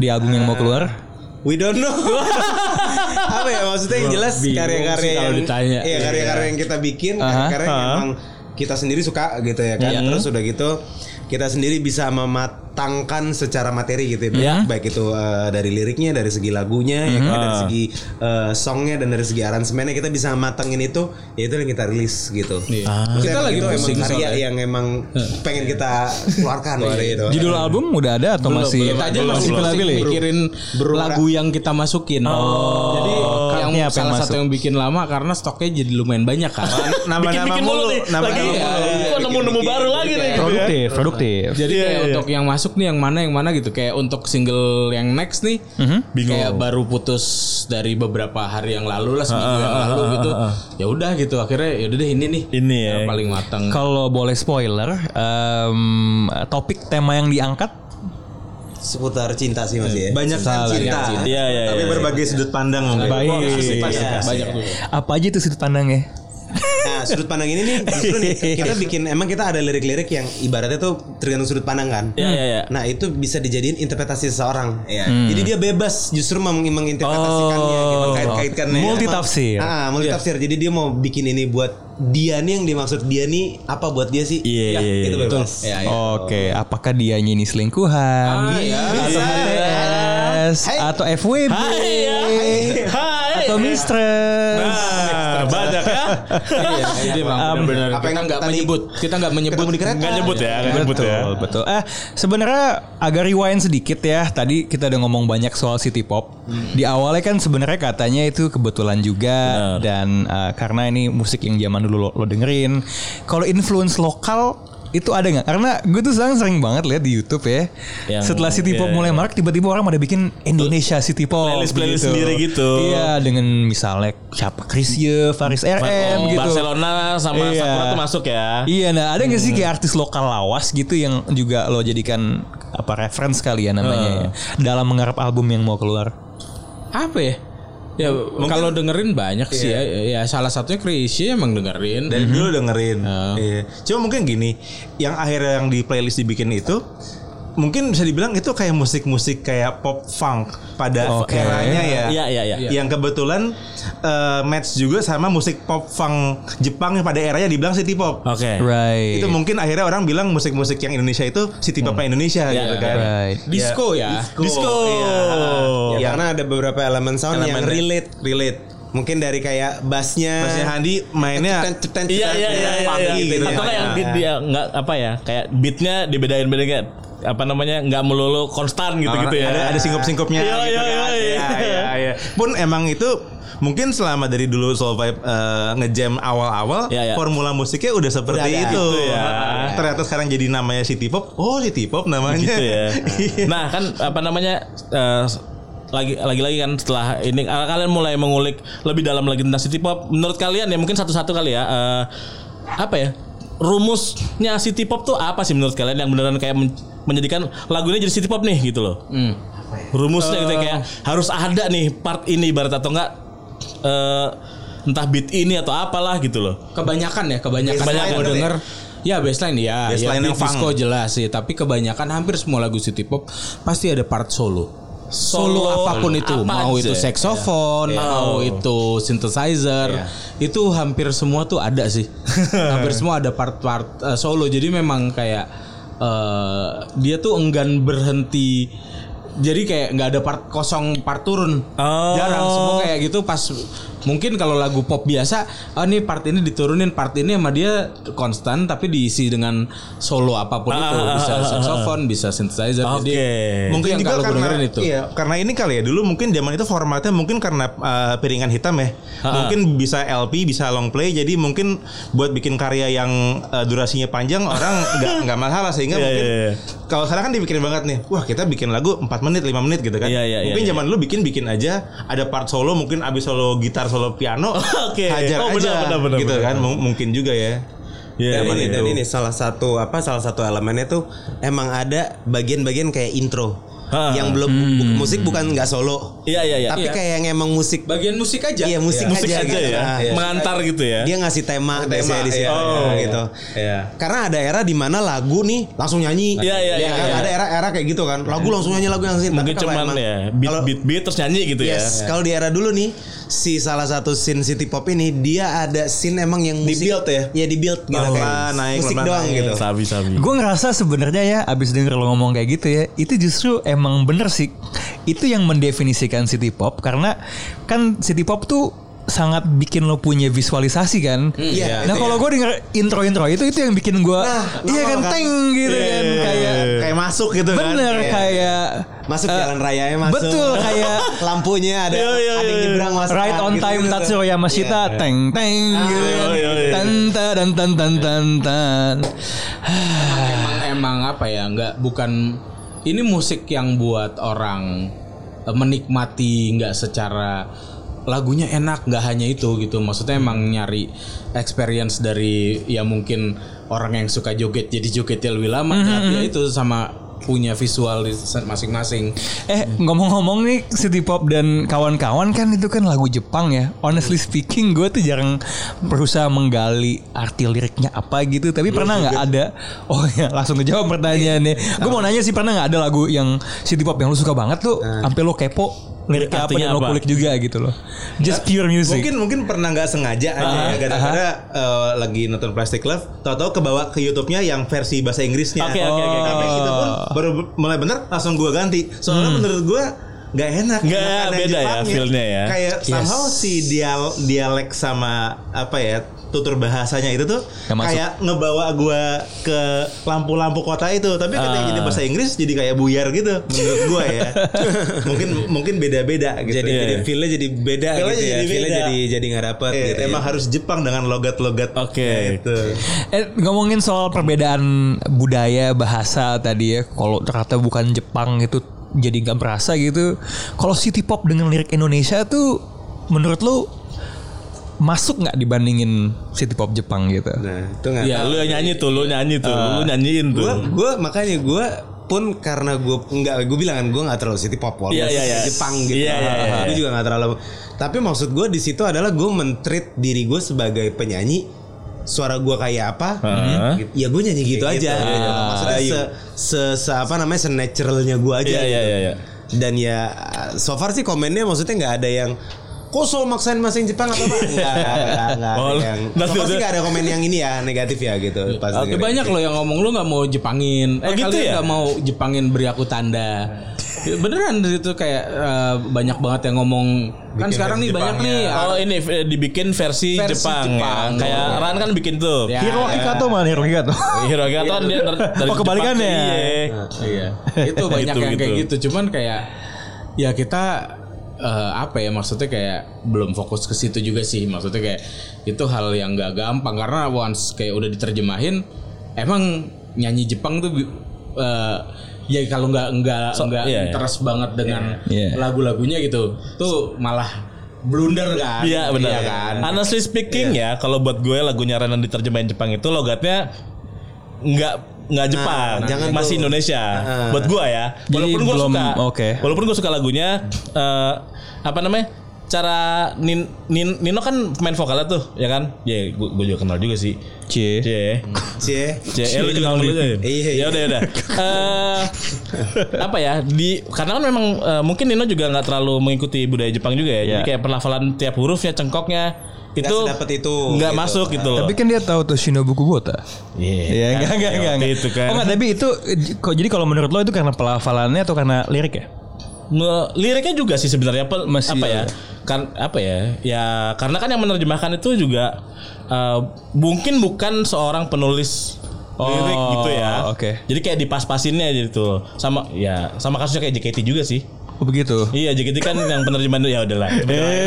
Speaker 3: di album yang mau keluar.
Speaker 8: We don't know. apa ya maksudnya yang jelas karya-karya
Speaker 5: sih
Speaker 8: yang
Speaker 5: kalau ditanya.
Speaker 8: Iya, karya-karya yang kita bikin, karya-karya yang emang kita sendiri suka gitu ya kan. Terus udah gitu kita sendiri bisa mematangkan secara materi gitu ya. Baik itu eh, dari liriknya, dari segi lagunya, ya kan? dari segi eh, songnya dan dari segi aransemennya kita bisa matangin itu, ya itu yang kita rilis gitu. Maksudnya
Speaker 4: Ah.
Speaker 5: Iya. Kita
Speaker 8: emang
Speaker 5: lagi
Speaker 8: itu emang
Speaker 5: pusing
Speaker 8: karya
Speaker 5: soalnya.
Speaker 8: yang emang pengen kita keluarkan gitu.
Speaker 3: Judul album udah ada atau masih
Speaker 5: Kita aja masih pilih-pilih mikirin lagu yang kita masukin. Oh. Jadi yang
Speaker 3: Artinya apa yang
Speaker 5: salah
Speaker 3: masuk?
Speaker 5: satu yang bikin lama karena stoknya jadi lumayan banyak kan.
Speaker 6: Nama-nama
Speaker 4: Bikin-bikin mulu
Speaker 6: mulu.
Speaker 4: nih. Lagi
Speaker 6: Nama-nama
Speaker 4: iya,
Speaker 6: mulu.
Speaker 4: kok nemu-nemu baru lagi nih.
Speaker 3: produktif,
Speaker 4: Iya.
Speaker 3: produktif.
Speaker 5: Jadi kayak untuk yang masuk nih yang mana yang mana gitu kayak untuk single yang next nih bingung kayak baru putus dari beberapa hari yang lalu lah seminggu yang lalu gitu ya udah gitu akhirnya ya udah deh ini nih
Speaker 4: Ini ya.
Speaker 5: yang paling matang
Speaker 3: Kalau boleh spoiler, em, topik tema yang diangkat
Speaker 8: Seputar cinta sih masih ya.
Speaker 6: Banyak kan cinta.
Speaker 4: Iya, iya,
Speaker 6: Tapi
Speaker 4: iya.
Speaker 6: berbagai sudut pandang mungkin.
Speaker 5: banyak tuh
Speaker 3: apa aja tuh sudut pandangnya?
Speaker 8: Nah sudut pandang ini nih justru nih kita bikin emang kita ada lirik-lirik yang ibaratnya tuh tergantung sudut pandang kan.
Speaker 4: Iya, iya, iya.
Speaker 8: Nah itu bisa dijadiin interpretasi seseorang. Jadi dia
Speaker 4: Hmm.
Speaker 8: bebas justru meng-
Speaker 4: Oh.
Speaker 8: menginterpretasikannya, gitu, kait-kaitkannya.
Speaker 3: multitafsir.
Speaker 8: Ah,
Speaker 4: Iya.
Speaker 8: multitafsir. Jadi dia mau bikin ini buat dia nih yang dimaksud dia nih apa buat dia sih?
Speaker 4: Iya,
Speaker 8: Ya,
Speaker 4: iya, iya.
Speaker 8: Itu bebas. Ya, ya.
Speaker 3: Oke, apakah dia ini
Speaker 4: Ah, iya.
Speaker 3: selingkuhan? atau HTS? Atau FWB?
Speaker 4: iya. Hai, hai, hai,
Speaker 3: atau mistress.
Speaker 4: Nah, banyak ya.
Speaker 5: Iya, jadi emang benar-benar
Speaker 10: apa yang
Speaker 5: kita nggak
Speaker 10: tadi
Speaker 5: menyebut, kita nggak menyebut
Speaker 10: ketemu di kereta.
Speaker 4: Nggak nyebut ya, nggak nyebut ya.
Speaker 3: Betul, betul. Eh, sebenarnya agak rewind sedikit ya. Tadi kita udah ngomong banyak soal City Pop.
Speaker 4: Hmm.
Speaker 3: Di awalnya kan sebenarnya katanya itu kebetulan juga dan eh, karena ini musik yang zaman dulu lo, lo dengerin. Kalau influence lokal itu ada nggak? Karena gue tuh sekarang sering banget lihat di YouTube ya.
Speaker 4: Yang-
Speaker 3: Setelah City Pop
Speaker 4: iya,
Speaker 3: mulai marak, tiba-tiba orang pada bikin Indonesia City Pop.
Speaker 4: Playlist-playlist sendiri gitu.
Speaker 3: Iya, dengan misalnya siapa Chrisye, Faris RM
Speaker 4: Oh,
Speaker 3: gitu.
Speaker 4: Barcelona sama
Speaker 3: Iya.
Speaker 4: Sakura tuh masuk ya.
Speaker 3: Iya, nah ada nggak sih kayak artis lokal lawas gitu yang juga lo jadikan apa reference kali ya namanya ya, dalam menggarap album yang mau keluar?
Speaker 5: apa ya? Ya kalau dengerin banyak sih ya. Ya salah satunya Chrisye emang dengerin.
Speaker 6: dari
Speaker 4: Mhm.
Speaker 6: dulu dengerin.
Speaker 4: Ya.
Speaker 6: Iya. Cuma mungkin gini, yang akhirnya yang di playlist dibikin itu mungkin bisa dibilang itu kayak musik-musik kayak pop funk pada
Speaker 3: Oke.
Speaker 6: eranya ya.
Speaker 4: Iya, iya, iya.
Speaker 6: Yang kebetulan eh, match juga sama musik pop funk Jepang yang pada eranya dibilang city pop.
Speaker 4: Oke. Hmm.
Speaker 3: Right.
Speaker 6: Itu mungkin akhirnya orang bilang musik-musik yang Indonesia itu city popnya Indonesia
Speaker 4: Iya,
Speaker 6: gitu kan.
Speaker 3: right.
Speaker 5: Disco ya.
Speaker 6: Disco. Iya.
Speaker 10: Ya, karena ada beberapa elemen sound
Speaker 6: Elemen
Speaker 10: yang
Speaker 6: deh.
Speaker 10: relate, relate. Mungkin dari kayak bassnya.
Speaker 6: Masnya Handi mainnya
Speaker 10: Cetan-cetan,
Speaker 4: Iya iya iya
Speaker 10: cetan-cetan,
Speaker 4: iya.
Speaker 10: funky
Speaker 4: iya.
Speaker 10: gitu ya.
Speaker 3: kan.
Speaker 4: Atau nggak yang beat dia nggak apa ya kayak beatnya dibedain bedain apa namanya nggak melulu konstan gitu gitu ya.
Speaker 6: Ada ada singkup-singkupnya
Speaker 4: Iya, iya,
Speaker 6: gitu kan.
Speaker 4: iya,
Speaker 6: Ya,
Speaker 4: iya.
Speaker 6: ya, ya. Pun emang itu mungkin selama dari dulu Soul Vibe eh, ngejam awal-awal
Speaker 4: Iya, iya.
Speaker 6: formula musiknya udah seperti
Speaker 10: Udah ada.
Speaker 6: itu.
Speaker 4: Gitu ya.
Speaker 6: Ternyata sekarang jadi namanya City Pop. Oh, City Pop namanya.
Speaker 4: gitu ya.
Speaker 6: Iya.
Speaker 4: Nah kan apa namanya eh, lagi lagi lagi kan setelah ini eh, kalian mulai mengulik lebih dalam lagi tentang city pop. Menurut kalian ya mungkin satu-satu kali ya eh, apa ya rumusnya city pop tuh apa sih menurut kalian yang beneran kayak men- menjadikan lagu ini jadi city pop nih gitu loh. Rumusnya gitu ya, kayak harus ada nih part ini ibarat atau enggak eh, entah beat ini atau apalah gitu loh.
Speaker 5: Kebanyakan ya, kebanyakan.
Speaker 4: Kebanyakan.
Speaker 5: Kalau denger Ya baseline ya,
Speaker 10: Nah,
Speaker 6: Baseline
Speaker 5: ya
Speaker 6: yang
Speaker 5: beat disco jelas sih, tapi kebanyakan hampir semua lagu city pop pasti ada part solo. Solo,
Speaker 4: Solo
Speaker 5: apapun itu,
Speaker 4: apa
Speaker 5: mau
Speaker 4: aja.
Speaker 5: itu saxophone, mau itu synthesizer, itu hampir semua tuh ada sih. hampir semua ada part-part eh, solo. Jadi memang kayak eh, dia tuh enggan berhenti. Jadi kayak nggak ada part kosong, part turun.
Speaker 4: Oh.
Speaker 5: Jarang semua kayak kayak gitu pas mungkin kalau lagu pop biasa oh ini part ini diturunin part ini sama dia konstan tapi diisi dengan solo apapun itu bisa saxophone bisa synthesizer jadi
Speaker 6: Mungkin
Speaker 5: yang
Speaker 6: juga
Speaker 5: kalau gue
Speaker 6: karena
Speaker 5: dengerin itu.
Speaker 6: iya, karena ini kali ya dulu mungkin zaman itu formatnya mungkin karena uh, piringan hitam ya. Mungkin bisa LP, bisa long play jadi mungkin buat bikin karya yang uh, durasinya panjang orang nggak nggak masalah sehingga
Speaker 4: Iya,
Speaker 6: mungkin
Speaker 4: iya, iya.
Speaker 6: kalau sekarang kan dipikirin banget nih. Wah, kita bikin lagu 4 menit, 5 menit gitu kan.
Speaker 4: Iya, iya,
Speaker 6: mungkin
Speaker 4: iya,
Speaker 6: zaman dulu bikin-bikin aja ada part solo mungkin abis solo gitar, solo piano.
Speaker 4: Oke.
Speaker 6: Hajar
Speaker 4: Oh, benar,
Speaker 6: aja
Speaker 4: benar, benar,
Speaker 6: gitu
Speaker 4: benar.
Speaker 6: kan Mung- mungkin juga ya.
Speaker 10: Dan
Speaker 4: Iya,
Speaker 6: Zaman
Speaker 10: ini,
Speaker 6: itu.
Speaker 10: dan ini salah satu apa salah satu elemennya tuh emang ada bagian-bagian kayak intro
Speaker 4: Ha.
Speaker 10: yang belum bu- musik bukan nggak solo
Speaker 4: Iya iya iya.
Speaker 10: tapi
Speaker 5: Iya.
Speaker 10: kayak yang emang musik
Speaker 5: bagian musik aja
Speaker 10: iya musik,
Speaker 4: Musik aja,
Speaker 10: gitu.
Speaker 4: ya.
Speaker 10: Nah, iya.
Speaker 4: Mengantar gitu ya.
Speaker 10: dia ngasih tema,
Speaker 6: tema,
Speaker 10: biasanya di situ
Speaker 6: iya,
Speaker 4: Oh,
Speaker 10: ya,
Speaker 6: iya,
Speaker 10: gitu karena ada era di mana lagu nih langsung nyanyi
Speaker 4: Iya, iya, iya,
Speaker 10: kan?
Speaker 4: iya.
Speaker 10: ada era-era kayak gitu kan lagu langsung nyanyi lagu langsung nyanyi.
Speaker 4: Mungkin
Speaker 10: Tapi kalau
Speaker 4: cuman
Speaker 10: emang-
Speaker 4: ya beat,
Speaker 10: kalau-
Speaker 4: beat beat terus nyanyi gitu ya.
Speaker 10: Yes, kalau di era dulu nih si salah satu scene city pop ini dia ada scene emang yang musik
Speaker 6: Di-build ya?
Speaker 10: Iya di build gitu
Speaker 6: Pelan-pelan
Speaker 10: kayak
Speaker 6: naik,
Speaker 10: musik
Speaker 6: pelan-pelan
Speaker 10: doang
Speaker 6: naik.
Speaker 10: gitu.
Speaker 4: Sabi sabi.
Speaker 3: Gue ngerasa sebenarnya ya abis denger lo ngomong kayak gitu ya Itu justru emang bener sih Itu yang mendefinisikan city pop Karena kan city pop tuh sangat bikin lo punya visualisasi kan
Speaker 10: Iya,
Speaker 3: Nah
Speaker 10: itu
Speaker 3: kalau gue denger intro-intro itu Itu yang bikin gue Iya kan
Speaker 10: kan.
Speaker 3: teng gitu kan
Speaker 4: iya,
Speaker 3: Kayak
Speaker 6: Kayak masuk gitu kan.
Speaker 3: Bener
Speaker 10: Iya.
Speaker 3: kayak
Speaker 10: Masuk
Speaker 3: eh,
Speaker 10: jalan rayanya masuk.
Speaker 3: Betul kayak
Speaker 10: lampunya ada
Speaker 4: Iya,
Speaker 10: ada yang nyebrang masuk. gitu, Iya.
Speaker 3: Right on time Tatsuya Yamashita teng teng
Speaker 10: Ah,
Speaker 3: gitu kan. Tan tan tan tan tan tan.
Speaker 5: emang emang apa ya nggak bukan ini musik yang buat orang eh, menikmati nggak secara lagunya enak nggak hanya itu gitu maksudnya emang nyari experience dari ya mungkin orang yang suka joget jadi jogetnya lebih lama
Speaker 4: Mhm,
Speaker 5: tapi ya itu sama punya visual di se- masing-masing
Speaker 3: Eh ngomong-ngomong nih City Pop dan kawan-kawan kan itu kan lagu Jepang ya Honestly speaking gue tuh jarang berusaha menggali arti liriknya apa gitu
Speaker 4: Iya
Speaker 3: Tapi pernah nggak ada Oh ya langsung dijawab pertanyaannya
Speaker 4: Iya.
Speaker 3: Gue mau nanya sih pernah nggak ada lagu yang City Pop yang lu suka banget tuh Sampai lo kepo liriknya
Speaker 4: Nah.
Speaker 3: apa
Speaker 4: Artinya
Speaker 3: dan lo
Speaker 4: apa? Ya,
Speaker 3: kulik juga gitu loh Just pure music
Speaker 6: Mungkin mungkin pernah nggak sengaja aja ya gara-gara eh, lagi nonton Plastic Love, tahu-tahu kebawa ke YouTube-nya yang versi bahasa Inggrisnya. Nah,
Speaker 4: Oke, Oh. oke, oke, oke.
Speaker 6: Tapi itu pun baru b- mulai bener langsung gua ganti. Soalnya menurut gua nggak enak
Speaker 4: Hmm. Nggak,
Speaker 6: Enakan yang
Speaker 4: beda ya
Speaker 6: Jepangnya.
Speaker 4: feel-nya ya.
Speaker 6: kayak somehow si dial dialek sama apa ya tutur bahasanya itu tuh
Speaker 3: Nggak masuk.
Speaker 6: kayak ngebawa gua ke lampu-lampu kota itu tapi ketika
Speaker 4: Ah.
Speaker 6: jadi bahasa Inggris jadi kayak buyar gitu menurut gua ya mungkin mungkin beda-beda gitu
Speaker 11: jadi
Speaker 4: Iya,
Speaker 11: jadi feel-nya jadi beda
Speaker 6: Feel-nya
Speaker 11: gitu ya.
Speaker 6: jadi
Speaker 11: Feel-nya
Speaker 6: beda.
Speaker 11: jadi jadi nggak dapet
Speaker 6: Iya,
Speaker 11: gitu. ya.
Speaker 6: emang harus Jepang dengan logat-logat
Speaker 11: Nah,
Speaker 4: Oke.
Speaker 6: gitu.
Speaker 3: Eh, ngomongin soal perbedaan budaya bahasa tadi ya, kalau ternyata bukan Jepang itu jadi nggak berasa gitu. Kalau city pop dengan lirik Indonesia tuh, menurut lu masuk nggak dibandingin city pop Jepang gitu?
Speaker 11: Nah, itu nggak
Speaker 4: Ya
Speaker 11: tahu.
Speaker 4: lu nyanyi tuh, lu nyanyi tuh,
Speaker 5: Eh,
Speaker 4: lu nyanyiin tuh.
Speaker 11: Gue gue makanya gue pun karena gue nggak gue bilang kan gue nggak terlalu city pop walaupun
Speaker 4: Iya, iya, iya.
Speaker 11: Jepang gitu,
Speaker 4: Iya, iya, iya.
Speaker 11: gue juga nggak terlalu. Tapi maksud gue di situ adalah gue mentreat diri gue sebagai penyanyi suara gue kayak apa, gitu. ya gue nyanyi gitu aja. gitu.
Speaker 4: Ah,
Speaker 11: Maksudnya se, se- se- apa namanya senaturalnya gue aja.
Speaker 4: Iya, iya,
Speaker 11: gitu.
Speaker 4: iya, iya.
Speaker 11: Dan ya so far sih komennya maksudnya nggak ada yang Kok so maksain masing Jepang apa apa? Enggak, enggak, enggak.
Speaker 4: Oh,
Speaker 11: ada yang, so far sih nggak ada komen yang ini ya negatif ya gitu. Pas
Speaker 5: Tapi
Speaker 11: dengerin.
Speaker 5: banyak loh yang ngomong lu nggak mau Jepangin.
Speaker 4: Oh,
Speaker 5: Eh,
Speaker 4: gitu
Speaker 5: kalian
Speaker 4: ya?
Speaker 5: nggak mau Jepangin beri aku tanda. Beneran itu kayak eh, banyak banget yang ngomong. kan sekarang nih banyak nih. ya.
Speaker 4: Oh ini eh, dibikin versi,
Speaker 5: Versi
Speaker 4: Jepang,
Speaker 5: Jepang.
Speaker 4: ya. Kayak Ran kan bikin tuh.
Speaker 5: Ya,
Speaker 3: Hiroaki Kato mana Hiroaki Kato?
Speaker 4: Hiroki atau Kan dia dari
Speaker 3: Oh, kebalikannya.
Speaker 4: Jepang, iya.
Speaker 5: iya. Itu banyak
Speaker 4: Gitu,
Speaker 5: yang kayak
Speaker 4: gitu.
Speaker 5: gitu. Cuman kayak ya kita eh, apa ya maksudnya kayak belum fokus ke situ juga sih. Maksudnya kayak itu hal yang gak gampang karena once kayak udah diterjemahin emang nyanyi Jepang tuh eh, ya kalau nggak nggak
Speaker 4: So-
Speaker 5: nggak
Speaker 4: iya, iya.
Speaker 5: interest banget dengan
Speaker 3: Iya.
Speaker 5: lagu-lagunya gitu tuh malah blunder kan
Speaker 4: Iya benar.
Speaker 5: kan
Speaker 4: Honestly speaking ya, kalau buat gue lagunya Renan diterjemahin Jepang itu logatnya nggak nggak Jepang,
Speaker 11: jangan
Speaker 4: masih
Speaker 11: tuh.
Speaker 4: Indonesia. Buat gue ya,
Speaker 3: Jadi
Speaker 4: walaupun gue
Speaker 3: belum-
Speaker 4: suka,
Speaker 3: oke.
Speaker 4: walaupun gue suka lagunya, eh, apa namanya? Cara Nin, Nin- Nino kan main vokalnya tuh, ya kan? Ya, gue, gue juga kenal juga sih.
Speaker 3: C.
Speaker 4: Cie.
Speaker 11: Cie.
Speaker 4: Ya, eh, lu juga ngomong gitu.
Speaker 11: Iya,
Speaker 4: Ya
Speaker 11: iya.
Speaker 4: udah ya udah. Eh, apa ya di karena kan memang eh, mungkin Nino juga nggak terlalu mengikuti budaya Jepang juga ya. Jadi
Speaker 3: Iya.
Speaker 4: kayak perlafalan tiap hurufnya, cengkoknya itu
Speaker 11: sedapat itu,
Speaker 6: Oh,
Speaker 4: nggak
Speaker 11: gitu.
Speaker 4: masuk gitu loh.
Speaker 3: Tapi kan dia tahu tuh Shinobu Kubota. Iya, enggak enggak enggak. enggak.
Speaker 4: Itu kan.
Speaker 3: Oh, enggak, tapi itu eh, kok jadi kalau menurut lo itu karena pelafalannya atau karena lirik ya?
Speaker 4: Nge- liriknya juga sih sebenarnya apa,
Speaker 3: Masih,
Speaker 4: apa ya?
Speaker 3: iya.
Speaker 4: Kan apa ya? Ya karena kan yang menerjemahkan itu juga eh, mungkin bukan seorang penulis lirik
Speaker 3: Oh,
Speaker 4: gitu ya.
Speaker 3: oke.
Speaker 4: Jadi kayak dipas-pasinnya gitu. Sama ya sama kasusnya kayak JKT juga sih.
Speaker 3: Oh, begitu.
Speaker 4: Iya, JKT kan yang penerjemahan ya udahlah.
Speaker 6: Eh.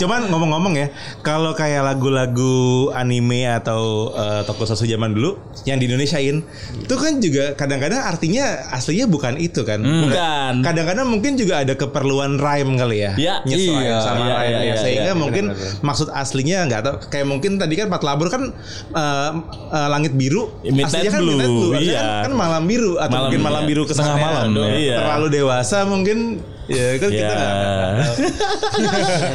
Speaker 6: Cuman ngomong-ngomong ya, kalau kayak lagu-lagu anime atau eh, tokusatsu zaman dulu yang di Indonesiain, itu kan juga kadang-kadang artinya aslinya bukan itu kan.
Speaker 4: Hmm. Bukan.
Speaker 6: Kadang-kadang mungkin juga ada keperluan rhyme kali ya.
Speaker 4: Iya.
Speaker 6: Nyesuaiin
Speaker 4: Iya,
Speaker 6: sama
Speaker 4: iya,
Speaker 6: rhyme-nya.
Speaker 4: iya, iya,
Speaker 6: Sehingga
Speaker 4: iya.
Speaker 6: mungkin maksud aslinya nggak tahu kayak mungkin tadi kan Pat Labur kan eh, eh, langit biru
Speaker 4: Ya, Midnight
Speaker 6: aslinya kan
Speaker 4: Blue,
Speaker 6: midnight blue. Artinya
Speaker 4: iya.
Speaker 6: Kan, kan malam biru atau
Speaker 4: Malam
Speaker 6: mungkin
Speaker 4: biru,
Speaker 6: malam
Speaker 4: iya.
Speaker 6: biru
Speaker 4: Tengah
Speaker 6: kesannya
Speaker 4: malam,
Speaker 6: aduh,
Speaker 4: iya.
Speaker 6: terlalu dewasa mungkin ya kan kita nggak
Speaker 4: Ya.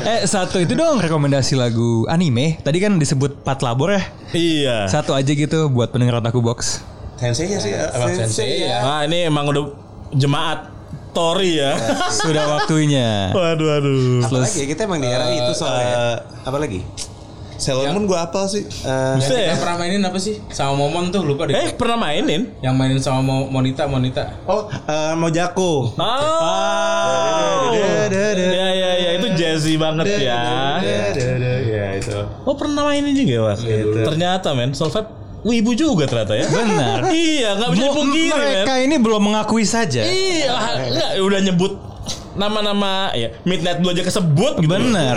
Speaker 3: eh satu itu dong rekomendasi lagu anime. Tadi kan disebut Pat Labor ya.
Speaker 4: Iya.
Speaker 3: Satu aja gitu buat pendengar otaku box.
Speaker 6: Sensei-nya ya sih apa? Sensei ya.
Speaker 4: Wah, Ah, ini emang udah jemaat Tori ya.
Speaker 6: Iya.
Speaker 3: Sudah waktunya.
Speaker 4: waduh, waduh.
Speaker 11: Apalagi ya, kita emang di era itu
Speaker 6: Eh,
Speaker 11: soalnya. Apalagi?
Speaker 6: Sailor Moon gue apal
Speaker 11: Eh,
Speaker 6: sih.
Speaker 4: Bisa ya?
Speaker 5: yang pernah mainin apa sih sama momon tuh lupa deh
Speaker 4: Eh, pernah mainin?
Speaker 5: yang mainin sama Mo- monita monita
Speaker 6: Oh, eh, Mojako.
Speaker 4: Oh. Ya, ya, ya. Itu jazzy banget ya.
Speaker 6: Ya itu.
Speaker 4: Oh, pernah mainin juga, Mas. Ternyata, men. Solfab wibu juga ternyata ya.
Speaker 3: Benar.
Speaker 4: iya, nggak bisa dipungkiri, men.
Speaker 3: Mereka ini belum mengakui saja.
Speaker 4: Iya, enggak, udah nyebut nama-nama ya Midnight Blue aja kesebut gitu.
Speaker 3: Benar.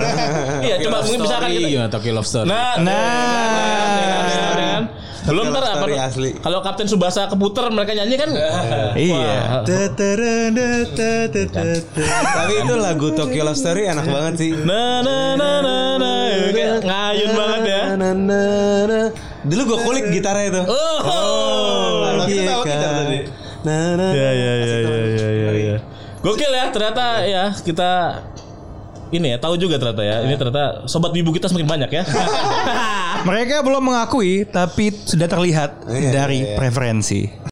Speaker 4: Iya, coba mungkin misalkan kita,
Speaker 5: Iya, Tokyo Love Story.
Speaker 4: Nah,
Speaker 3: Nah.
Speaker 4: nah. Belum ntar apa
Speaker 11: story asli.
Speaker 4: kalau Kapten Subasa keputer mereka nyanyi kan
Speaker 3: iya.
Speaker 11: Tapi itu lagu Tokyo Love Story enak
Speaker 3: Iya.
Speaker 11: banget sih.
Speaker 3: Nah.
Speaker 4: na na na na na ya, kayak ngayun banget ya.
Speaker 11: Na, na, na. Dulu gue kulik gitarnya itu.
Speaker 4: Oh.
Speaker 11: Iya kan. Na, na, na.
Speaker 4: Ya ya ya ya ya ya. ya. Gokil ya ternyata ya kita ini ya tahu juga ternyata ya. Ini ternyata sobat bibu kita semakin banyak ya.
Speaker 3: Oh, iya, Mereka belum mengakui tapi sudah terlihat dari preferensi.